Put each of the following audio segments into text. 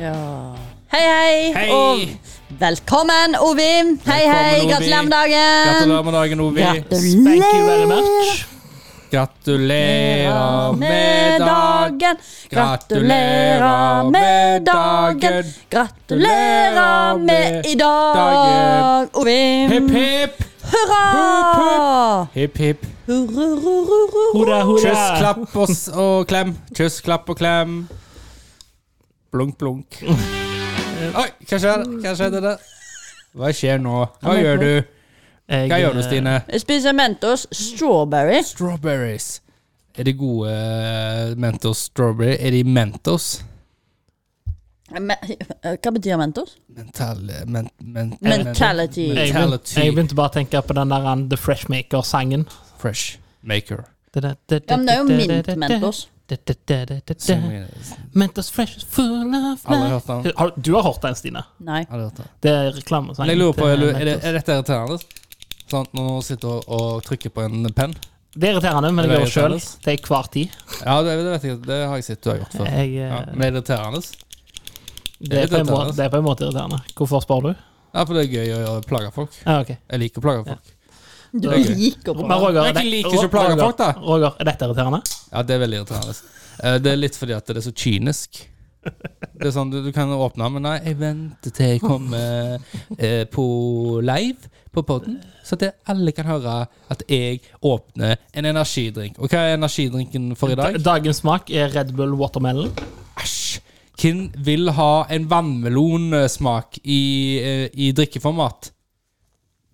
Ja. Hei, hei, Hei! og velkommen, Ovi. Hei, hei, Velkommen, Ovi. gratulerer med dagen. Gratulerer med dagen, Ovi. Thank you very much. Gratulerer med dagen. Gratulerer med dagen. Gratulerer med i dag, dagen. Hipp, Ovi. hipp. Hurra! Hipp, hipp. Hurrururururu. Hurra, hurra. Kyss, klapp og, s- og klem. Kyss, klapp og klem. Blunk, blunk. Oi, hva skjer? Hva skjedde der? Hva skjer nå? Hva Han er gjør du? Jeg, Hva gjør du, eh, Stine? Jeg spiser Mentos strawberry. Strawberries. Er de gode eh, Mentos strawberry? Er de Mentos? Me- Hva betyr Mentos? Mental... eh, Men, men, Mentality. Jeg, begynte, Mentality. jeg begynte bare å tenke på den der eh, The Freshmaker-sangen. Fresh maker. Ja, men det er jo mint Mentos. Mentos fresh is full of Aldri life. hørt den. Har- Du har hørt den, Stine? Nei. Aldri hørt den. Det er reklamesangen. Men jeg lurer på, til eh, er, du- er, det, Mentos. er dette irriterende? Sånn, at når noen sitter og, og trykker på en penn? Det er irriterende, men Er jeg det gjør det sjøl. irriterende? Det er hver tid. Ja, det, det vet jeg. Det har jeg sett du har gjort før. Jeg, eh, Ja, men er det irriterende? det, er på en irriterende. måte, det er på en måte irriterende. Hvorfor spør du? Ja, for det er gøy å gjøre- plage folk. Ja, ok. Jeg liker å plage folk. Du Ok. liker på Men Roger, Jeg det- liker ikke å plage Roger, folk, da. Roger, er dette irriterende? Ja, det er veldig irriterende. Eh, Det er litt fordi at det er så kynisk. Det er sånn, Du, du kan åpne, men nei, jeg venter til jeg kommer eh, på live på podden, så at det- alle kan høre at jeg åpner en energidrink. Og hva er energidrinken for i dag? Dagens smak er Red Bull Watermelon. Æsj! Hvem vil ha en vannmelonsmak i, eh, i drikkeformat?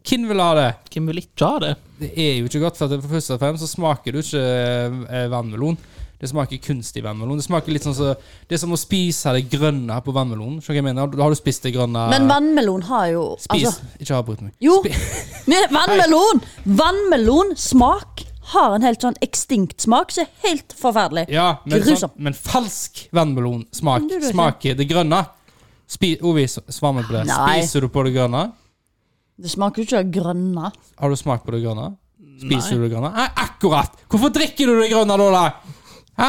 Hvem vil ha det? Hvem vil ikke ha det? Det er jo ikke godt, for at for først og fremst så smaker du ikke eh, vannmelon. Det smaker kunstig vannmelon. Det smaker litt sånn så, Det er som å spise det grønne på vannmelonen. Skjønner du hva jeg mener? Da har du spist det grønne Men vannmelon har jo Eh, Spis. altså, ikke avbryt meg. Jo, men vannmelon! Vannmelonsmak har en helt sånn ekstinkt smak som er helt forferdelig. Ja, men, Grusom. sånn, men falsk vannmelonsmak Men det er det ikke. smaker det grønne. Spi, Ovi, s- svar meg på det. Nei. Spiser du på det grønne? Det smaker jo ikke av grønne. Har du smakt på det grønne? Spiser du det grønne? Nei, akkurat! Hvorfor drikker du det grønne da, da? Hæ?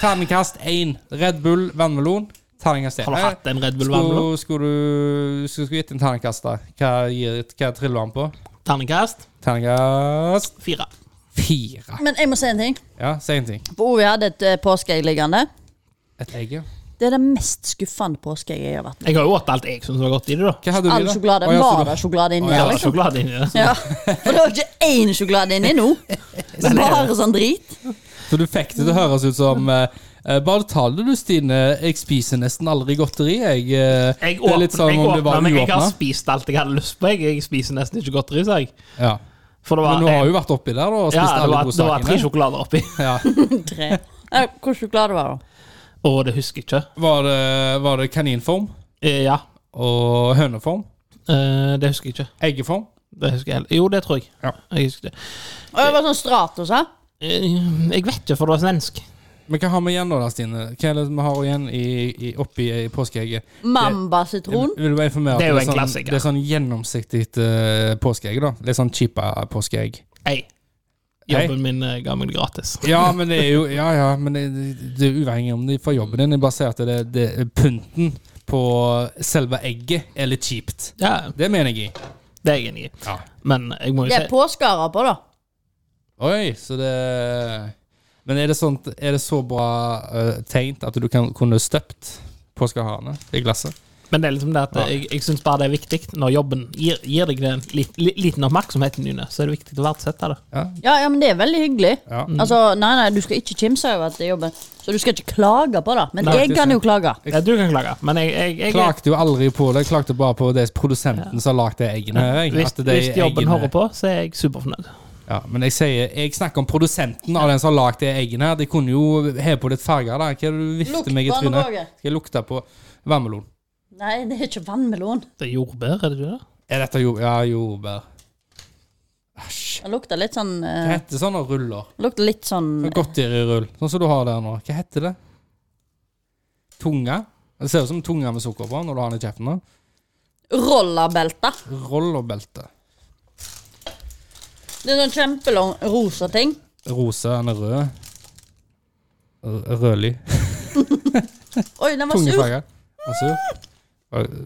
Terningkast 1. Red Bull vannmelon. Terningkast 1. Har du hatt en Red Bull vannmelon? Skulle du skulle, skulle gitt en terningkast, da? Hva, gir, hva triller han på? Terningkast Terningkast fire. 4. Men jeg må si en ting. Ja, si en ting. For Ovi hadde et eh, påskeegg liggende. Et egg, ja. Det er det mest skuffende påskeegget jeg har vært med Jeg har jo spist alt jeg syns var godt i det, da. Hva på. hadde du i All det? sjokolade. Å, ja, så Var du- det sjokolade inni Å, der, ja, Det er liksom? sjokolade inni det. Ja. For det var ikke én sjokolade inni nå. Det er bare sånn drit. Så du fikk det til å høres ut som eh, eh, Bare ta det, du, Stine. Jeg spiser nesten aldri godteri, jeg. eh, Jeg det er litt som åpner, jeg om det åpner, var men jeg har uåpna. spist alt jeg hadde lyst på. Jeg, jeg spiser nesten ikke godteri, sa jeg. Ja. For det var, Men du har jo vært oppi der da, og ja, spist det alle var, det var tre godsakene. sjokolader oppi. Ja. Tre. Eh, Hvor sjokolade var det? Å, det husker jeg ikke. Var, det- var det kaninform Eh, Ja, og høneform? eh, det husker jeg ikke. Eggeform? Det husker jeg. heller- Jo, det tror jeg. Ja. Jeg husker det. Å, det var sånn Stratos, hæ? Eh, Jeg vet ikke, for det var svensk. Men hva har vi igjen nå, da, Stine? Hva er det vi har igjen i, i, oppi i påskeegget? Mamba-sitron. Vil du bare informere at Det er jo en sånn, klassiker. Det er sånn gjennomsiktig eh, påskeegg, da. Det er sånn cheapa påskeegg. Ei. Hei. Jobben min eh, ga meg det gratis. Ja, men det er jo Ja, ja, men det, det er uavhengig om de får jobben din. Jeg bare sier at det, det pynten på selve egget er litt kjipt. Ja, Det mener jeg i. det er jeg enig i. Ja. Men jeg må jo Det er si påskarer på, da. Oi, så det Men er det, sånt, er det så bra eh, tegnt at du kan, kunne støpt påskeharene i glasset? Men det er liksom det at Ja. jeg, jeg syns bare det er viktig når jobben gir, gir deg den li, li, liten oppmerksomheten, June, så er det viktig å verdsette det. Ja. Ja, ja, men det er veldig hyggelig. ja. Mm. Altså, nei, nei, du skal ikke kimse over at det er jobben, så du skal ikke klage på det. Men Nei, jeg det er kan jo sant. klage. Ja, du kan klage, men jeg, jeg, jeg, Klagte jo aldri på det. Jeg Klagte bare på det produsenten som har lagd de eggene. her, jeg. hvis, At de hvis jobben eggene- hører på, så er jeg superfornøyd. Ja, men jeg sier Jeg snakker om produsenten av den som har lagd de eggene her. De kunne jo heve på litt farger. da Hva er det du Lukt vifter meg i på den, trynet? Roger. Skal jeg lukte på vannmelon? Nei, det er ikke vannmelon. Det er jordbær, er det det? Er dette jord... Ja, jordbær. Æsj. Det lukter litt sånn Hva eh, heter sånne ruller? det lukter litt sånn Sånn Godterirull. Sånn som du har der nå. Hva heter det? Tunge? Det ser ut som tunge med sukker på når du har den i kjeften. da rollerbelte. Rollerbelte. Det er sånn kjempelang rosa ting. Rosa, den er rød. R- Rødlig. Oi, den var sur. Tungefarga. Og sur. Og-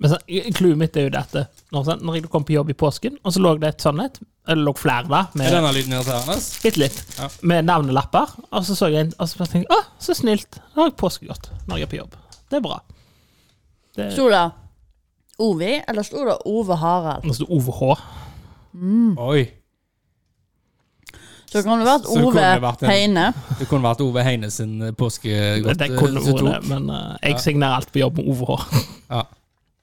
Men så, Clouet mitt er jo dette. Når, sant, når jeg kom på jobb i påsken, og så lå det et sånn et, eller lå flere da, Er med, denne lyden irriterende? ass? litt, litt, Ja. med navnelapper, og så så jeg en, og så bare tenkte jeg å, så snilt. Da har jeg påskegodt når jeg er på jobb. Det er bra. Det, Sto det Ovi, eller sto det Ove Harald? nå sto OVH. Oi. Så kan det vært Så kunne Ove det vært en- Heine. Det kunne vært Ove Heine sin eh, påskegodt. Det eh, kunne som tok. ordene, men eh, jeg signerer alt på jobb med OVH. Ja.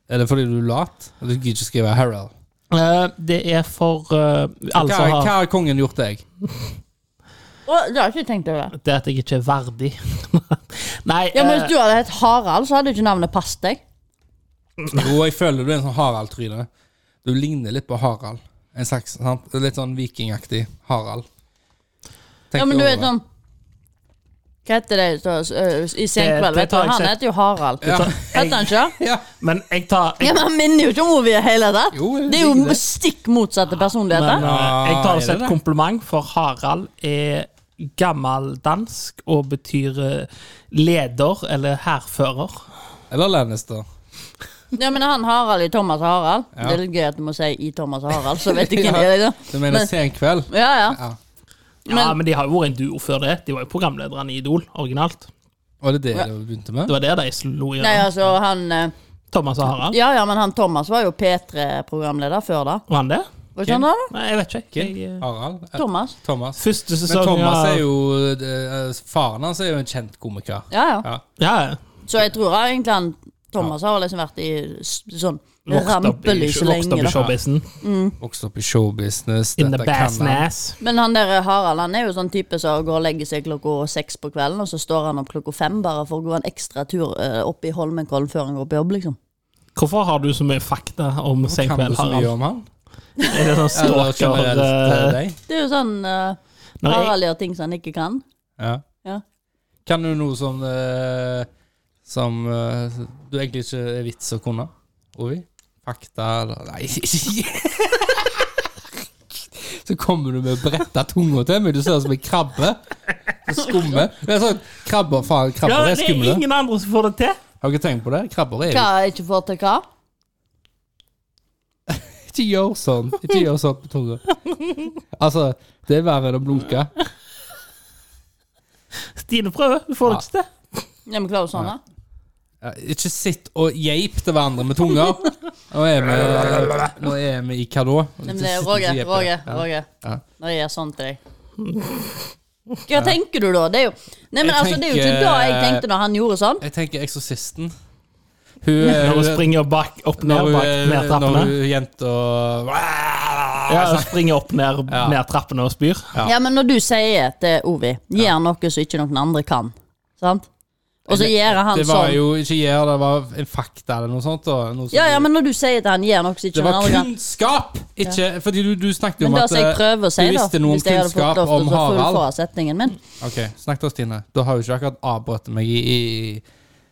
Er det fordi du er lat? At Du gidder ikke skrive Harald? Eh, det er for eh, alle Hva, hva som har har kongen gjort deg? Å, det har jeg ikke tenkt over. Det at jeg ikke er verdig. Nei, Ja, men eh, Hvis du hadde hett Harald, så hadde ikke navnet passet deg. Jo, jeg føler du er en sånn Harald-tryne. Du ligner litt på Harald. En saks, sant? Det er Litt sånn vikingaktig Harald. Tenk Ja, men du over vet det. sånn Hva heter det så, ø, i Senkveld? det Vet du, tar jeg han ikke. heter jo Harald. Ja. Heter han ikke? Ja. men jeg tar jeg, Ja, men Han minner jo ikke om Ovi i det hele tatt. Jo, jeg Det er liker jo det. stikk motsatte men, personligheter. eh, jeg tar det Ah, er som det et det? kompliment, for Harald er gammeldansk og betyr eh, leder eller hærfører. Eller Lannister. Ja, men han Harald i Thomas og Harald. Ja. Det er litt gøy at du må si i Thomas og Harald, så vet jeg hvem det er. liksom. Du mener Men- sen kveld? Ja, ja. Ja. Ja, Men- men de har jo vært en duo før det. De var jo programlederne i Idol originalt. Var det det du begynte med? Det var der de slo i Nei, altså, han ø, Thomas og Harald. Ja, ja, men han Thomas var jo P3-programleder før da. Var han det? Var ikke han det? da? Nei, jeg vet ikke. Jeg, eh, Harald? Eh, Thomas. Thomas. første Men sesong Thomas av- er jo eh, Faren hans er jo en kjent komiker. Ja, ja. Ja. ja, ja. Så jeg tror egentlig han Thomas har liksom vært i s- sånn Vokst opp i, rampelys vokst opp lenge. i da. showbizen. Vokste opp i showbusiness. In the Dette kan bass han. nass. Men han der Harald han er jo sånn type som går og legger seg klokka seks på kvelden, og så står han opp klokka fem bare for å gå en ekstra tur eh, opp i Holmenkollen før han går på jobb, liksom. Hvorfor har du så mye fakta om Kan du Senkveld, så mye Harald? om han? Er det sånn Eller stalker generelt eh, eh, deg? Det er jo sånn eh, når jeg, Harald gjør ting som han ikke kan. Ja. Ja. Kan du noe som eh, Som eh, du egentlig ikke er vits å kunne? Ovi? Fakta eller Nei. Så kommer du med bretta tunga til meg. Du ser ut som en krabbe. Så Skumme. Det er sånn, krabber, faen, ja, krabber er det er skumle. ingen andre som får det til. Har dere tenkt på det? Krabber er Hva jeg ikke får til hva? Ikke gjør sånn. Ikke gjør sånn på tunga. Altså, det er verre enn å blunke. Stine prøver, du får det ikke til. Ja, men klarer du sånn, da? Ja, Ikke sitt og geip til hverandre med tunga. Nå er vi, nå er vi i hva da? Nei, men det er Roger, Roger, Roger. Ja. Når jeg gjør sånn til deg. Hva tenker du da? Det er jo Nei, men Jeg altså, det er jo ikke tenker- det jeg tenkte når han gjorde sånn. Jeg tenker Eksorsisten. Hun er- Når hun springer bak, opp Eh, når ned hun bak ned er- når hun trappene. er jente og Ja, hun springer opp ned, Ja. ned trappene og spyr. Ja. Ja, men når du sier til Ovi Gjør noe som ikke noen andre kan. Sant? Og så gjør han Det var sånn. jo ikke gjør, det var en fakta eller noe sånt. da. noe som- Ja, ja, men når du sier til han Gjør noe som Det ikke noen var andre kan. kunnskap! Ikke, fordi du, du snakket jo om Men det at som jeg eh, prøver å si, da du visste noe om Hvis jeg hadde fått kunnskap lov om til å fullføre Harald. setningen min Ok, Snakk da, Stine. Da har jo ikke akkurat avbrutt meg i, i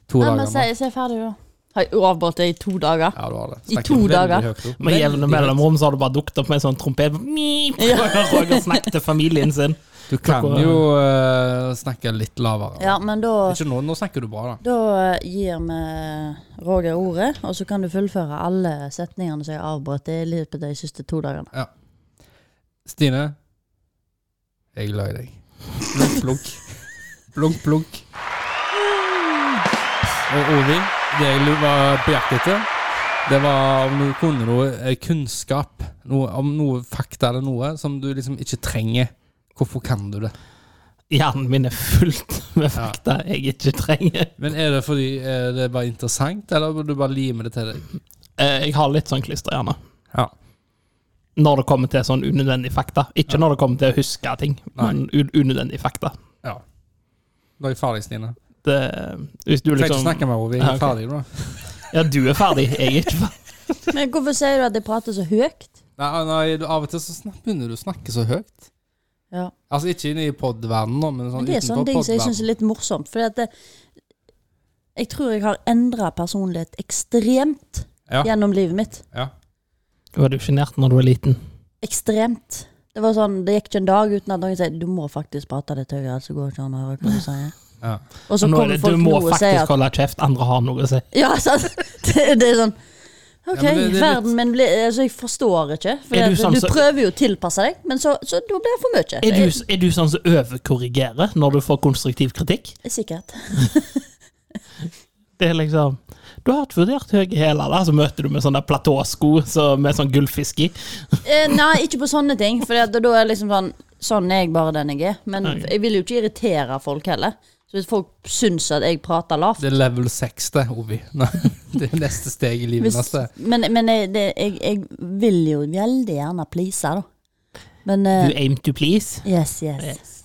to Nei, dager. men si, nå. si ferdig, da. Har jeg avbrutt det i to dager? Ja, du har det. I to veldig dager. høyt opp. Med jevne Veldig mellomrom så har det bare dukket opp med en sånn trompet. Mip, Roger, Roger snakket til familien sin. høyt. Du kan Klokka- jo eh, snakke litt lavere. Ja, men da Ikke nå, nå snakker du bra, da. da gir vi Roger ordet, og så kan du fullføre alle setningene som jeg avbrøt i løpet av de siste to dagene. Stine, jeg er glad i deg. Blunk, blunk. Blunk, blunk. Og Ovi, det jeg lu- var på jakt etter, det var om du kunne noe eh, kunnskap. Noe, om noe fakta eller noe som du liksom ikke trenger. Hvorfor kan du det? Hjernen min er fullt med fakta jeg ikke trenger. Men er det fordi eh, det er bare interessant, eller burde du bare lime det til deg? Eh, Jeg har litt sånn klisterhjerne. Ja. Når det kommer til sånn unødvendig fakta. Ikke når det kommer til å huske ting, men un unødvendig fakta. ja. Da er jeg ferdig, Stine. Det, hvis Du du trenger liksom ikke snakke mer, Ovi. Jeg Ja, er ok. ferdig nå. Ja, du er ferdig. Jeg er ikke ferdig. Men hvorfor sier du at jeg prater så høyt? Nei, ah, nei, du- av og til så snak, begynner du å snakke så høyt. Ja. Altså ikke inne i podverdenen, da, men sånn Men det er utenfor sånne ting som jeg syns podverdenen. er litt morsomt. Fordi at det, jeg tror jeg har endra personlighet ekstremt Ja. gjennom livet mitt. Ja. Var du sjenert når du var liten? Ekstremt. Det var sånn, det gikk ikke en dag uten at noen sa du må faktisk prate litt høyere, så går det ikke an å høre hva du sier. Ja. Og så Nå er kommer det, du folk nå må og sier faktisk at holde kjeft, andre har noe å si. Ja, sant? Det, det er sånn OK, Ja, men det- det er litt- verden min blir altså, Jeg forstår ikke. For Er det, du du, sånn som- prøver jo å tilpasse deg, men så, så da blir det for mye. Er du, er du sånn som overkorrigerer når du får konstruktiv kritikk? Det er Sikkert. Det er liksom Du har ikke vurdert høye hæler, da, så møter du med sånne platåsko så med sånn gullfisk i. Eh, nei, ikke på sånne ting. For det, da er liksom sånn Sånn er jeg bare den jeg er. Men Ok. jeg vil jo ikke irritere folk heller. Så hvis folk syns at jeg prater lavt Det er level 6, det, Ovi. Nei, det er neste steg i livet. hvis, neste. Men, men jeg, det, jeg, jeg vil jo veldig gjerne please, da. Men eh, You aim to please. Yes, yes.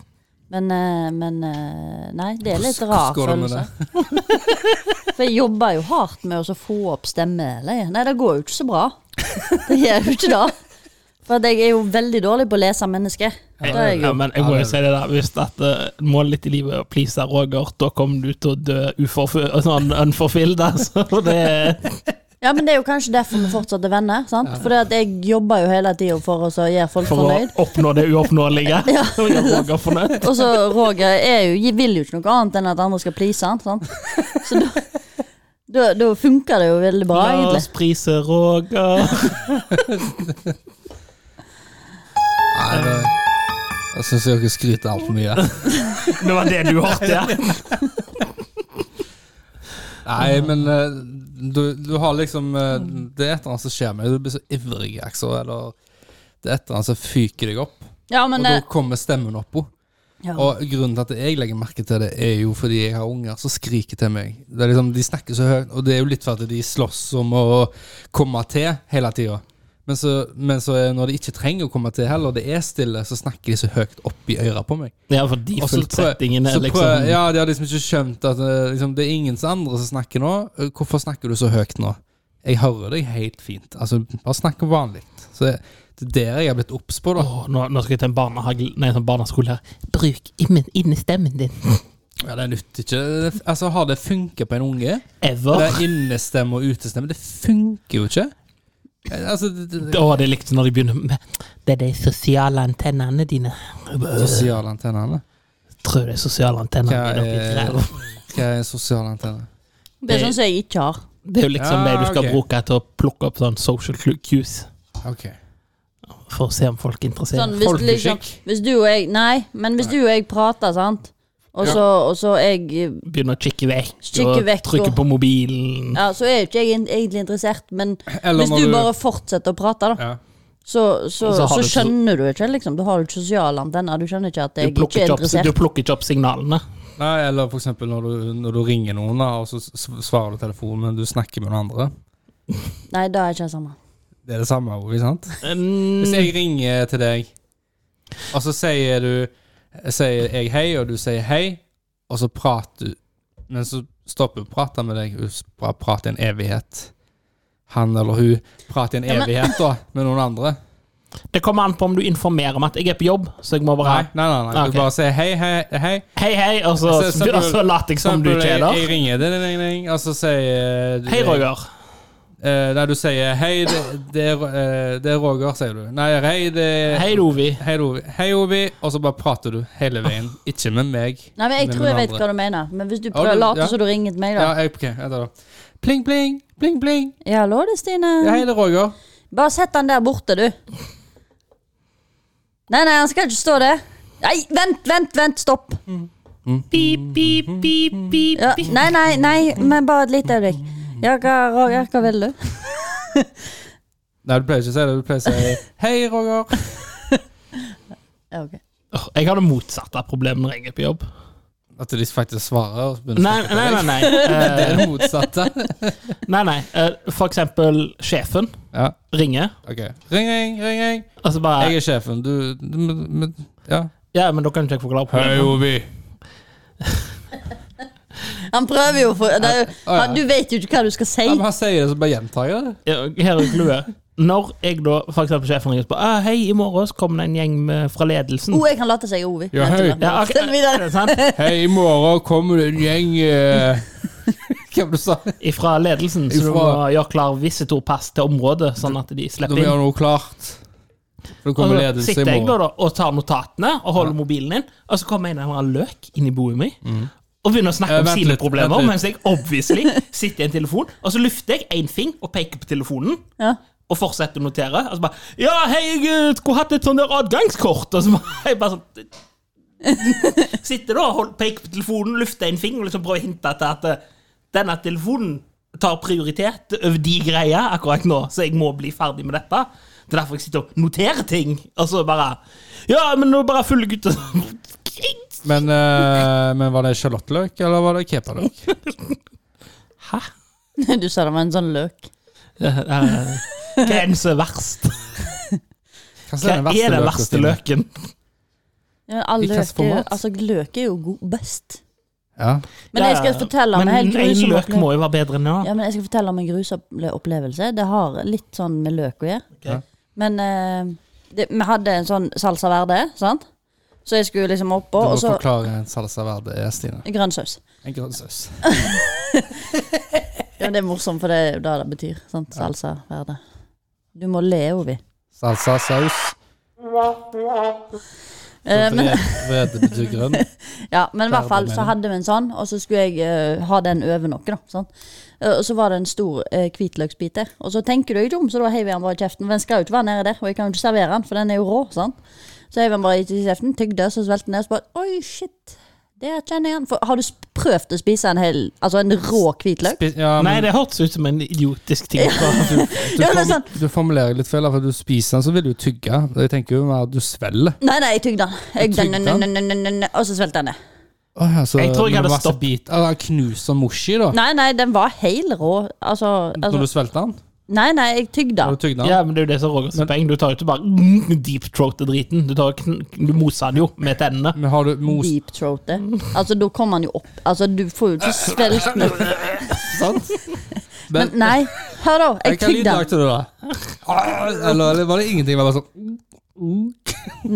Men, eh, men eh, Nei, det er litt Hvordan- rar hvordan går det med følelse. For jeg jobber jo hardt med å så få opp stemmeleiet. Nei, det går jo ikke så bra. Det gjør jo ikke det. For at jeg er jo veldig dårlig på å lese mennesker. Det er jeg Eh, Ja, jo. men jeg må jo si det der, Hvis at eh, målet ditt i livet er å please Roger, da kommer du til å dø uforfu- sånn unforfilled. Altså. Det er Ja, men det er jo kanskje derfor vi fortsatt er venner. sant? For at jeg jobber jo hele tida for å så gjøre folk for å fornøyd. oppnå det uoppnåelige. Ja. Og gjøre Roger fornøyd. Og så Roger er jo, vil jo ikke noe annet enn at andre skal please han. sant? Så da, da, da funker det jo veldig bra, La egentlig. oss prise Roger. Nei, det, jeg syns dere skryter altfor mye. Det var det du hørte, ja. Nei, men eh, du, du har liksom eh, Det er et eller annet som skjer med deg. Du blir så ivrig, Axel, eller det er et eller annet som fyker deg opp. Ja, men... Og da eh, kommer stemmen oppå. ja. Og grunnen til at jeg legger merke til det, er jo fordi jeg har unger som skriker til meg. Det er liksom, de snakker så høyt, og det er jo litt for at de slåss om å komme til hele tida. Men, så, men så er- når de ikke trenger å komme til heller, og det er stille, så snakker de så høyt opp i øra på meg. Ja, for de Og så prøver- fulltrettingene så er prøver- liksom Ja, de har liksom ikke skjønt at eh, liksom, det er ingen som andre som snakker nå. Eh, Hvorfor snakker du så høyt nå? Jeg hører deg helt fint. Altså, bare snakk vanlig. Så det, det er der jeg har blitt obs på, da. Åh, nå, nå skal jeg til en barnehage, nei, en sånn barneskole her. Bruk innen innestemmen din. Ja, det nytter ikke. Altså, har det funka på en unge? Ever. Det er innestemme og utestemme. Det funker jo ikke. Eh, Altså, det, det, det, Å, det likte når de begynner med Det er de sosiale antennene dine. Jeg bare, øh, sosiale antennene. Tror det er sosiale antennene Hva dine oppi er- ræva. Hva er sosiale antenner? Det er sånn som jeg ikke har. Det er jo liksom Ja, det du skal ok. bruke til å plukke opp sånn social clu- cues. Ok. For å se om folk interesserer Sånn, hvis, liksom, Folkeskikk. hvis du og jeg Nei, men hvis du og jeg prater, sant, og Ja. så, og så jeg Begynner å kikke vekk, Kikke vekk, og trykke og- på mobilen. Ja, så er jo ikke jeg in- egentlig interessert, men Eller hvis når du du- bare fortsetter å prate, da, Ja. så, så, Og så så, har du så- skjønner du ikke, liksom. Du har jo ikke sosiale antenner. Du skjønner ikke at Du jeg ikke plukker er ikke, opp, du interessert. plukker ikke opp signalene. Nei, eller for eksempel når du, når du ringer noen, da, og så s- svarer du telefonen, men du snakker med noen andre. Nei, det er ikke det samme. Det er det samme, Ovi, sant? Hvis Mm, jeg ringer til deg, og så sier du Sier jeg hei, og du sier hei, og så prater du Men så stopper du å prate med deg, og bare prater i en evighet. Han eller hun prater i en Ja, men- evighet da, med noen andre. det kommer an på om du informerer om at jeg er på jobb, så jeg må Nei, bare nei, nei. nei. Ok. Du bare sier hei, hei, hei. Hei, hei, og Altså, så, Så- så- og så later jeg som du ikke er jeg, der. jeg ringer, ding, ding, ding, og så sier du Hei, Roger. Eh, nei, du sier 'hei, det, det, er, eh, det er Roger', sier du. Nei, 'hei, det er Hei, Dovi. Hei, Ovi. Hei, Ovi. Og så bare prater du hele veien. Ah. Ikke med meg. Nei, men jeg Men tror jeg noen vet andre. hva du mener. Men hvis du Ja, prøver du- å ja. late som du ringet meg, da. Ja, jeg, ok, jeg tar det. Pling, pling. Pling, pling. Ja, hallo, det er Stine. Ja, hei, det er Roger. Bare sett han der borte, du. Nei, nei, han skal ikke stå der. Nei, vent, vent, vent, stopp. Pip, pip, pip, pip. Ja, nei, nei, nei, men bare et lite øyeblikk. Ja, hva, Roger, hva vil du? Nei, du pleier ikke å si det. Du pleier å si 'hei, Roger'. Ja, ok. Åh, Jeg har det motsatte problemet når jeg er på jobb. At de faktisk svarer. og begynner å Nei, snakke nei, til nei. deg. nei. Eh, Det er det motsatte. nei, nei. Eh, For eksempel sjefen Ja, ringer, ok. Ring, ring, ring, ring. og så bare Jeg er sjefen. Du, du men- men- Ja. Ja, men da kan ikke jeg forklare problemet. Ovi. Han prøver jo for det, er jo- Å, ja. han, Du vet jo ikke hva du skal si. Ja, men han sier det, så bare gjentar jeg det. Ja, Her er clouet. Når jeg da for eksempel sjefen ringer og spør ah, Hei, i morgen så kommer det en gjeng med, fra ledelsen. Oh, jeg kan late seg Ovi. Ja, Vent hei. litt, Ja, ok. Fortell videre. Er det sant? Hei, i morgen kommer det en gjeng eh, Hva var det du sa du? Ifra ledelsen, så du må Ifra- gjøre klar visitorpass til området, sånn at de Du slipper må inn. gjøre noe klart. For det Og kommer så ledelse i Altså, sitter jeg morgen. da, da og tar notatene og holder mobilen inn, og så kommer en eller annen løk inn i boet mitt og begynner å snakke Eh, om vent sine litt, problemer, vent litt. mens jeg obviously sitter i en telefon, og så lufter jeg én fing og peker på telefonen. Ja. Og fortsetter å notere. Og så bare 'Ja, hei, jeg skulle hatt et sånn der adgangskort.' Og så bare, jeg bare sånn Sitter da og hold- peker på telefonen, lufter en finger og liksom prøver å hinte til at eh, denne telefonen tar prioritet over de greia akkurat nå, så jeg må bli ferdig med dette. Det er derfor jeg sitter og noterer ting. Og så bare Ja, men nå bare følger jeg ut og Men, eh, men var det sjalottløk, eller var det kepaløk? Hæ? Du sa det var en sånn løk. Hva er den som er verst? Hva Hva er den verste løken? Ja, all I hvilken løk, er, jo- format? altså, løk er jo god, best. Ja. Men jeg skal fortelle om en helt Men en grusom løk opplevelse. må jo være bedre enn den. Ja, men jeg skal fortelle om en grusom opplevelse. Det har litt sånn med løk å gjøre. Ok. Men eh, det, vi hadde en sånn salsa verde, sant? Så jeg skulle liksom oppå, Du må og altså- så forklare en salsa verde, Stine. grønn saus. En grønn saus. Ja, men det er morsomt, for det er jo det det betyr. Sant? Salsa verde. Du må le, Ovi. Salsa, saus. Eh, men, Vred, vrede betyr grønn. ja, men i hvert fall Verde, så hadde vi en sånn, og så skulle jeg eh, ha den over noe, da. Sant? Eh, og så var det en stor eh, hvitløksbit der. Og så tenker du deg ikke om, så da heiver jeg den bare i kjeften. For den skal jo ikke være nede der, og jeg kan jo ikke servere den, for den er jo rå. sant? Så heiver jeg den bare i kjeften, tygde, så svelgte den ned, og så bare Oi, shit. Der kjenner jeg den. For har du sp- prøvd å spise en hel, altså en rå hvitløk? Spi- Ja, Nei, men det hørtes ut som en idiotisk ting. fra- du, Ja, det er form- sånn- du formulerer litt feil, da, for du spiser den, så vil du tygge. Jeg tenker jo mer at du svelger. Nei, nei, jeg tygde den. Jeg, Du tygde den, den? den, den, den, den, den, og så svelgte jeg den ned. Åh, ja, så Jeg tror jeg med hadde masse stopp- Bit, ah, knuser moshi, da, Nei, nei, den var hel rå. Altså, når altså du svelger den? Nei, nei, jeg tygde Når den. du tygger den? Ja, men det er jo det som er Rogers poeng. Du tar jo ikke bare mm, deep throat-driten. Du, tar og kn- du moser den jo med tennene. Men har du mos Deep throat det. Altså, da kommer han jo opp. Altså, du får jo ikke svelgt den. sant? Men Men, nei, hør da, jeg hva lyd tygde den. lagde du da? Ah, Eller var det ingenting? Det var bare sånn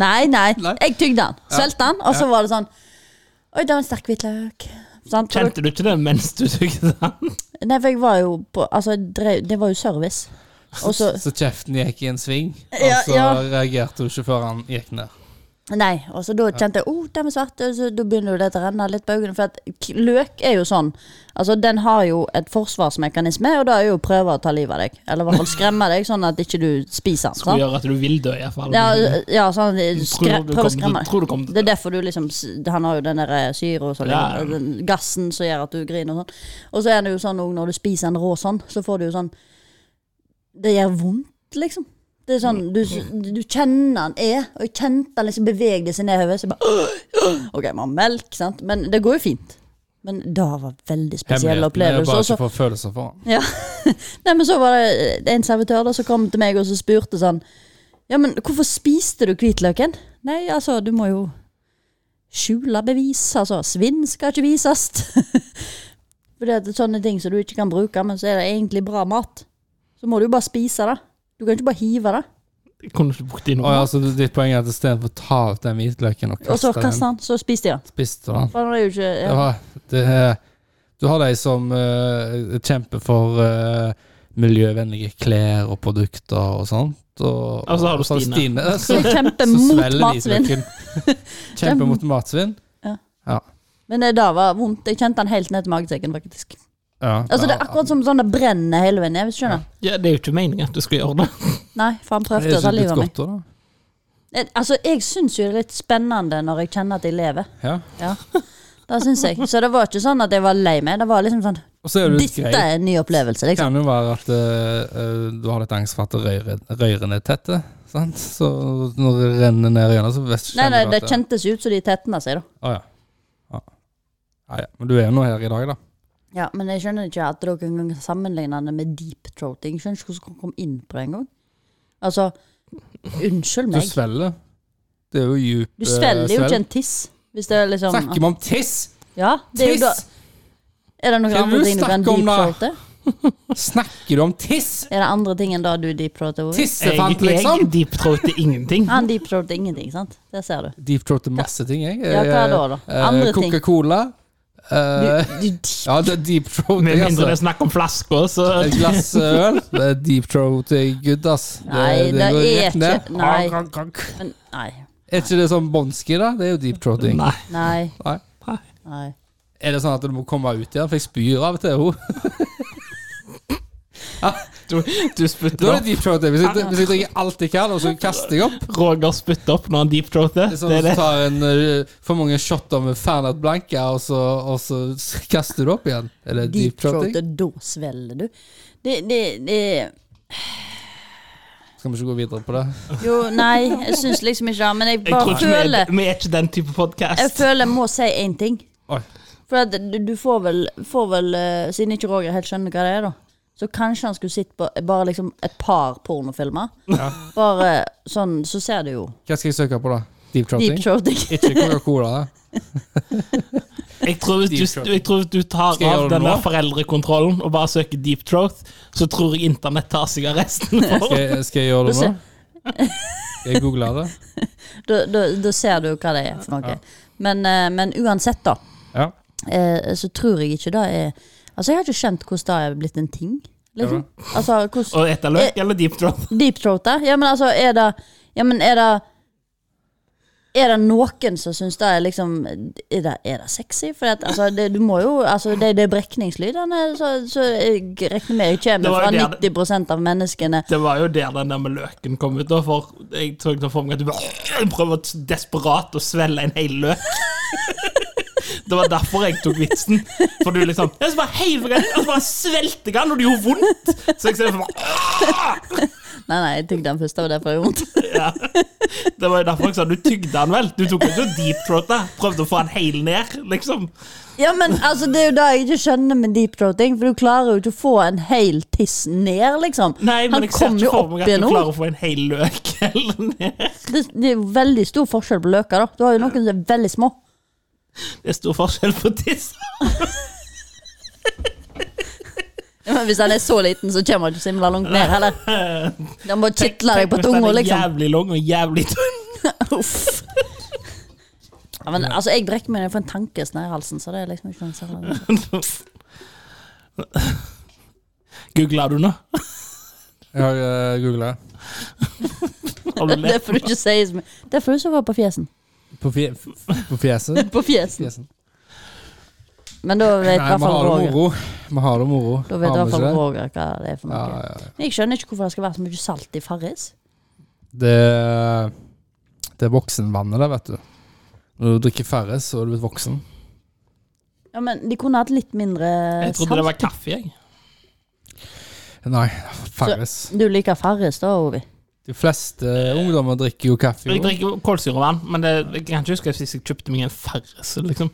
Nei, nei, Nei. jeg tygde den. Svelgte den, og så var det sånn Oi, det var en sterk hvitløk. Sant? Og da- Kjente du ikke det mens du tygde den? Nei, for jeg var jo på Altså, jeg drev, det var jo service. Og så Så kjeften gikk i en sving, og Ja, så ja. reagerte hun ikke før han gikk ned. Nei, og så da kjente jeg oh, den er svart, og så da begynner jo det å renne litt på øynene. For at k- løk er jo sånn. Altså, den har jo et forsvarsmekanisme, og da er jo å prøve å ta livet av deg. Eller i hvert fall skremme deg, sånn at ikke du spiser den. Skulle sant? gjøre at du vil dø, iallfall. Ja, øh. ja, sånn skre, Tror du prøv å kom- skremme tror du kom til Det er derfor du liksom s- Han har jo den der syre og sånn, Ja. den gassen som gjør at du griner og sånn. Og så er det jo sånn også når du spiser en rå sånn, så får du jo sånn Det gjør vondt, liksom. Det er sånn, Du, du kjenner den er, og jeg kjente den liksom bevegde seg nedover. Så jeg bare «Åh, åh». OK, man har melk, sant, men det går jo fint. Men det var veldig spesiell Hemmeligheten er jo opplevelse. bare Og så ikke for følelser for han. ja. Nei, men så var det eh, en servitør da som kom til meg og så spurte sånn Ja, men hvorfor spiste du hvitløken? Nei, altså, du må jo skjule bevis. Altså, svinn skal ikke vises. For det er sånne ting som du ikke kan bruke, men så er det egentlig bra mat. Så må du jo bare spise det. Du kan ikke bare hive det. Kunne du ikke brukt det i Og noe? altså, ditt poeng er at i stedet for å ta ut den hvitløken og Og så kaste kastet den, han, så spiste jeg den. spiste du den. For han er jo ikke Det ja. var, det er, du har de som eh, kjemper for eh, miljøvennlige klær og produkter og sånt. Og, Og så har du og Stine. Stine Så som- jeg kjemper som mot svelger matsvinn. hvitløken. Kjemper mot matsvinn. Men det da var vondt. Jeg kjente den helt ned til magesekken, faktisk. Ja, Altså, det er akkurat som sånn det brenner hele veien ned, hvis du skjønner. Ja, det er jo ikke meningen at du skal gjøre det. Nei, for han Det prøvde er å ta ikke livet av litt meg. godt da, da. Eh, Altså, jeg syns jo det er litt spennende når jeg kjenner at jeg lever. Ja. Ja. Det syns jeg. Så det var ikke sånn at jeg var lei meg. Det var liksom sånn Og så er det litt Dette greit. er en ny opplevelse, Det liksom. kan jo være at eh, eh, du har litt angst for at røyre- røyrene er tette. Sant? Så når det renner ned i øynene, så vet, Nei, kjenner nei, du at det kjentes jo ut som de tetna seg, da. Å, ja. Ja. Ja, ja. Men du er jo nå her i dag, da. Ja, Men jeg skjønner ikke at dere kan sammenligne det med deep throating. Jeg skjønner ikke hvordan dere kom inn på det engang. Altså, unnskyld Du meg. svelger. Det er jo djup eh, Du svelger jo ikke en tiss. Hvis det er liksom Snakker vi om tiss?! Ja, det er jo da Tiss! Er det noen Hva er det andre du ting du kan snakker deep om da? throate? Snakker du om tiss?! Er det andre ting enn da du deep throater? Ovi? Jeg, Tissefant, jeg liksom! deep throater ingenting. Han deep throater ingenting, sant? Der ser du. Deep throat er masse ting, jeg. Ja, hva da, da? Eh, Andre ting. Coca-Cola. Eh, Du, du ja, det er deep throat. Med jeg, mindre altså. det er snakk om flasker, så Et glass eh, øl. Det er deep throat er good, ass. Nei, det går er rett ned. ikke- nei. Kong, kong, kong. Men nei. Er ikke det sånn bånski, da? Det er jo deep throating. Nei. Nei. Nei. Nei. nei. Er det sånn at du må komme ut igjen? For jeg spyr av og til henne. Du, du spytter Da er opp. det deep throat. Hvis, jeg- hvis jeg drikker alt jeg kan, og så kaster jeg opp Roger spytter opp når han deep throater. Det er sånn Det er at det. du tar en, eh, for mange shotter med Fernet Blanca, og så, og så s- kaster du opp igjen. Eller deep throating. Deep-throated, da svelger du. Det, det, det Skal vi ikke gå videre på det? Jo, nei, jeg syns liksom ikke det. Men jeg Jeg tror bare ikke vi er, føler vi er ikke den type Jeg podkast. føler jeg må si én ting. Oi. For at du, du får vel, får vel eh, Siden ikke Roger helt skjønner hva det er, da. Så kanskje han skulle sett på bare liksom et par pornofilmer. Bare sånn, så ser du jo Hva skal jeg søke på, da? Deep deep throating? throating. Ikke Coca-Cola? da? Jeg tror, hvis Deep du, throat. jeg tror hvis du tar Skal jeg av gjøre det den nå? der foreldrekontrollen og bare søker deep throat, så tror jeg internett tar seg av resten. Skal jeg, skal jeg gjøre det Da nå? ser- Skal jeg googler det? Da, da, da ser du hva det er for noe. Men, eh, men uansett, da, Ja. eh, så tror jeg ikke det er Altså, jeg har ikke skjønt hvordan det er blitt en ting. Liksom. Altså, hvordan Og etter løk Eh. eller deep throat. Deep throat, da? Ja, men altså, er det Ja, men er det er det noen som syns det er liksom Er det, er det sexy? For at, altså, det, du må jo altså, Det, det er brekningslydene, så, så jeg regner med jeg Det kommer var fra jo det- 90 av menneskene. Det var jo der den der med løken kom ut. da, For Jeg så ikke for meg at du bare prøver å- desperat å svelge en hel løk. Det var derfor jeg tok vitsen. For du liksom Jeg så bare heiv jeg den, og så bare svelgte jeg den, og det gjorde vondt. Så jeg liksom, ser for meg Nei, nei, jeg tygde den først, det var derfor jeg gjorde vondt. Ja. Det var jo derfor jeg sa du tygde han vel. Du tok jo ikke deep throat, da. Prøvde å få han heil ned, liksom. Ja, men altså, det er jo det jeg ikke skjønner med deep throating, for du klarer jo ikke å få en hel tiss ned, liksom. Nei, men Han jeg ser kom ikke jo for meg opp at igjen du nå. klarer å få en hel løk heil ned. Det, det er jo veldig stor forskjell på løker, da. Du har jo noen som er veldig små. Det er stor forskjell på tiss. Ja, Men hvis han er så liten, så kommer han ikke så himla langt ned heller. Han må kitle deg på Tenk hvis den tunga, er liksom. Jævlig lang og jævlig tynn. Uff. Ja, men altså, jeg brekker meg når jeg får en tankesnei i halsen, så det er liksom ikke noe særlig. Googla du nå? Jeg har uh, googla. Har du Det lett? får du ikke si så mye. Det får du så godt på fjesen. På, fje, f- på fjeset? På fjesen. Fjesen. Men da vet i Nei, hvert vi fall har det Roger. moro. Vi har det moro. Da vet i hvert Har vi fall ikke det? Roger hva det er for Ja, noe. ja, ja. Men Jeg skjønner ikke hvorfor det skal være så mye salt i Farris. Det, det er voksenvannet der, vet du. Når du drikker Farris, så er du blitt voksen. Ja, men de kunne hatt litt mindre Jeg trodde det salt. var kaffe, jeg. Nei, Farris. Du liker Farris da, Ovi? De fleste ungdommer drikker jo kaffe. Jeg Jo. drikker kålsyrevann, men det, jeg kan ikke huske sist jeg kjøpte meg en Farris. Liksom.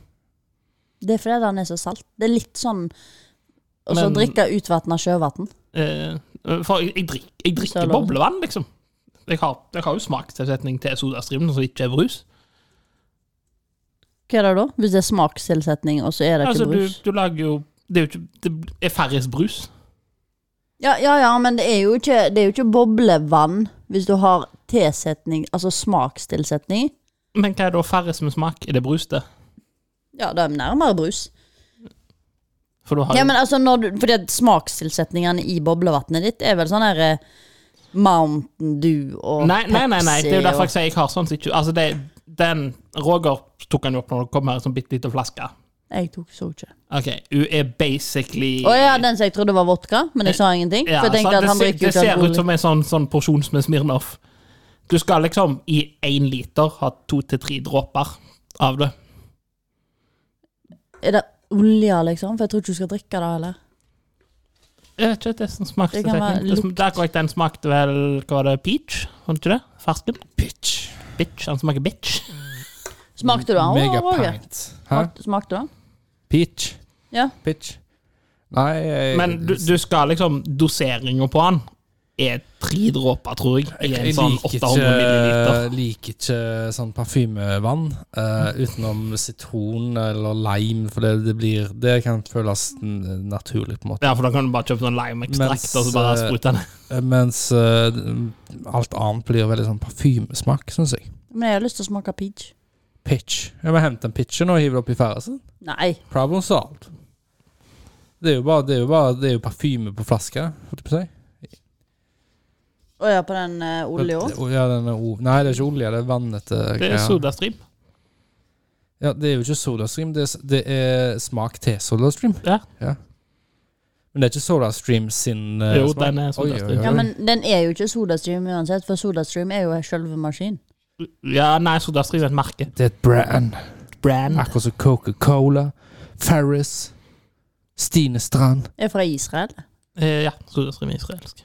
Det er fordi den er så salt. Det er litt sånn Og så Men- drikke utvatna sjøvann. Eh, For jeg, jeg, drikker, jeg Så drikker langt. boblevann, liksom. Jeg har, jeg har jo smakstilsetning til sodastreamen, som ikke er brus. Hva er det da? Hvis det er smakstilsetning, og så er det ikke Altså, du, brus? du lager jo Det er jo ikke Det er Farris brus. Ja, ja, ja, men det er jo ikke, det er jo ikke boblevann hvis du har tilsetning, altså smakstilsetning. Men hva er da Farris med smak? Er det brus, det? Ja, det er nærmere brus. For du har Ja, jo men altså, når du, fordi at smakstilsetningene i boblevannet ditt er vel sånn her eh, Mountain Dew og Nei, nei, nei, nei. det er jo derfor og jeg sier jeg har sånn som ikke Altså, det, den Roger tok han jo opp når det kom her, en sånn bitte liten flaske. Jeg tok så ikke. OK, hun er basically Å ja, den som jeg trodde var vodka, men jeg sa ingenting. Eh, Ja, For jeg tenkte sant? at han det, ser- drikker det jo ikke ser ut alkohol. som en sånn, sånn porsjon som en Smirnoff. Du skal liksom i én liter ha to til tre dråper av det. Er det olje, liksom? For jeg tror ikke du skal drikke det heller. Jeg vet ikke, det er sånn Det kan være smaksetrekning. Det sm- Det er korrekt, den smakte vel Hva var det? Peach? Var det ikke det? Fersken? Bitch. Bitch, Han smaker bitch. Smakte du den, Roger? Megapint. Hæ? Smakte- Smakte du den? Peach. Ja. Pitch. Nei jeg, Men du, du skal liksom Doseringa på han er tre dråper, tror jeg, i jeg, en jeg sånn liker, 800 milliliter. ikke, liker ikke sånn parfymevann eh, utenom sitron eller lime, for det, det blir Det kan føles n- naturlig, på en måte. Ja, for da kan du bare kjøpe sånn limeekstrakt Mens, og så bare eh, sprute den. Eh, Mens eh, alt annet blir veldig sånn parfymesmak, syns jeg. Men jeg har lyst til å smake peach. Pitch. Jeg må hente en pitcher nå og hive det oppi fersen. Nei. Problem solved. Det er jo bare, det er jo bare det er jo parfyme på flaske, holdt jeg på å si. Å ja, på den eh, olja òg? Ja, den er o- Nei, det er ikke olje, det er vannete Det er greier. sodastream. eh, Ja, det er jo ikke SodaStream, det er, det er smak til SodaStream. Ja. Men det er ikke SodaStream sin eh, Jo, smak. den er Oi, oi, SodaStream. oi. Ja, men den er jo ikke SodaStream uansett, for SodaStream er jo selve maskinen. Ja, nei, Sodastrid er et merke. Det er et brand. Brand. Akkurat som Coca-Cola, Farris, Stine Strand. Er fra Israel, Eh, ja, Sodastrid er israelsk.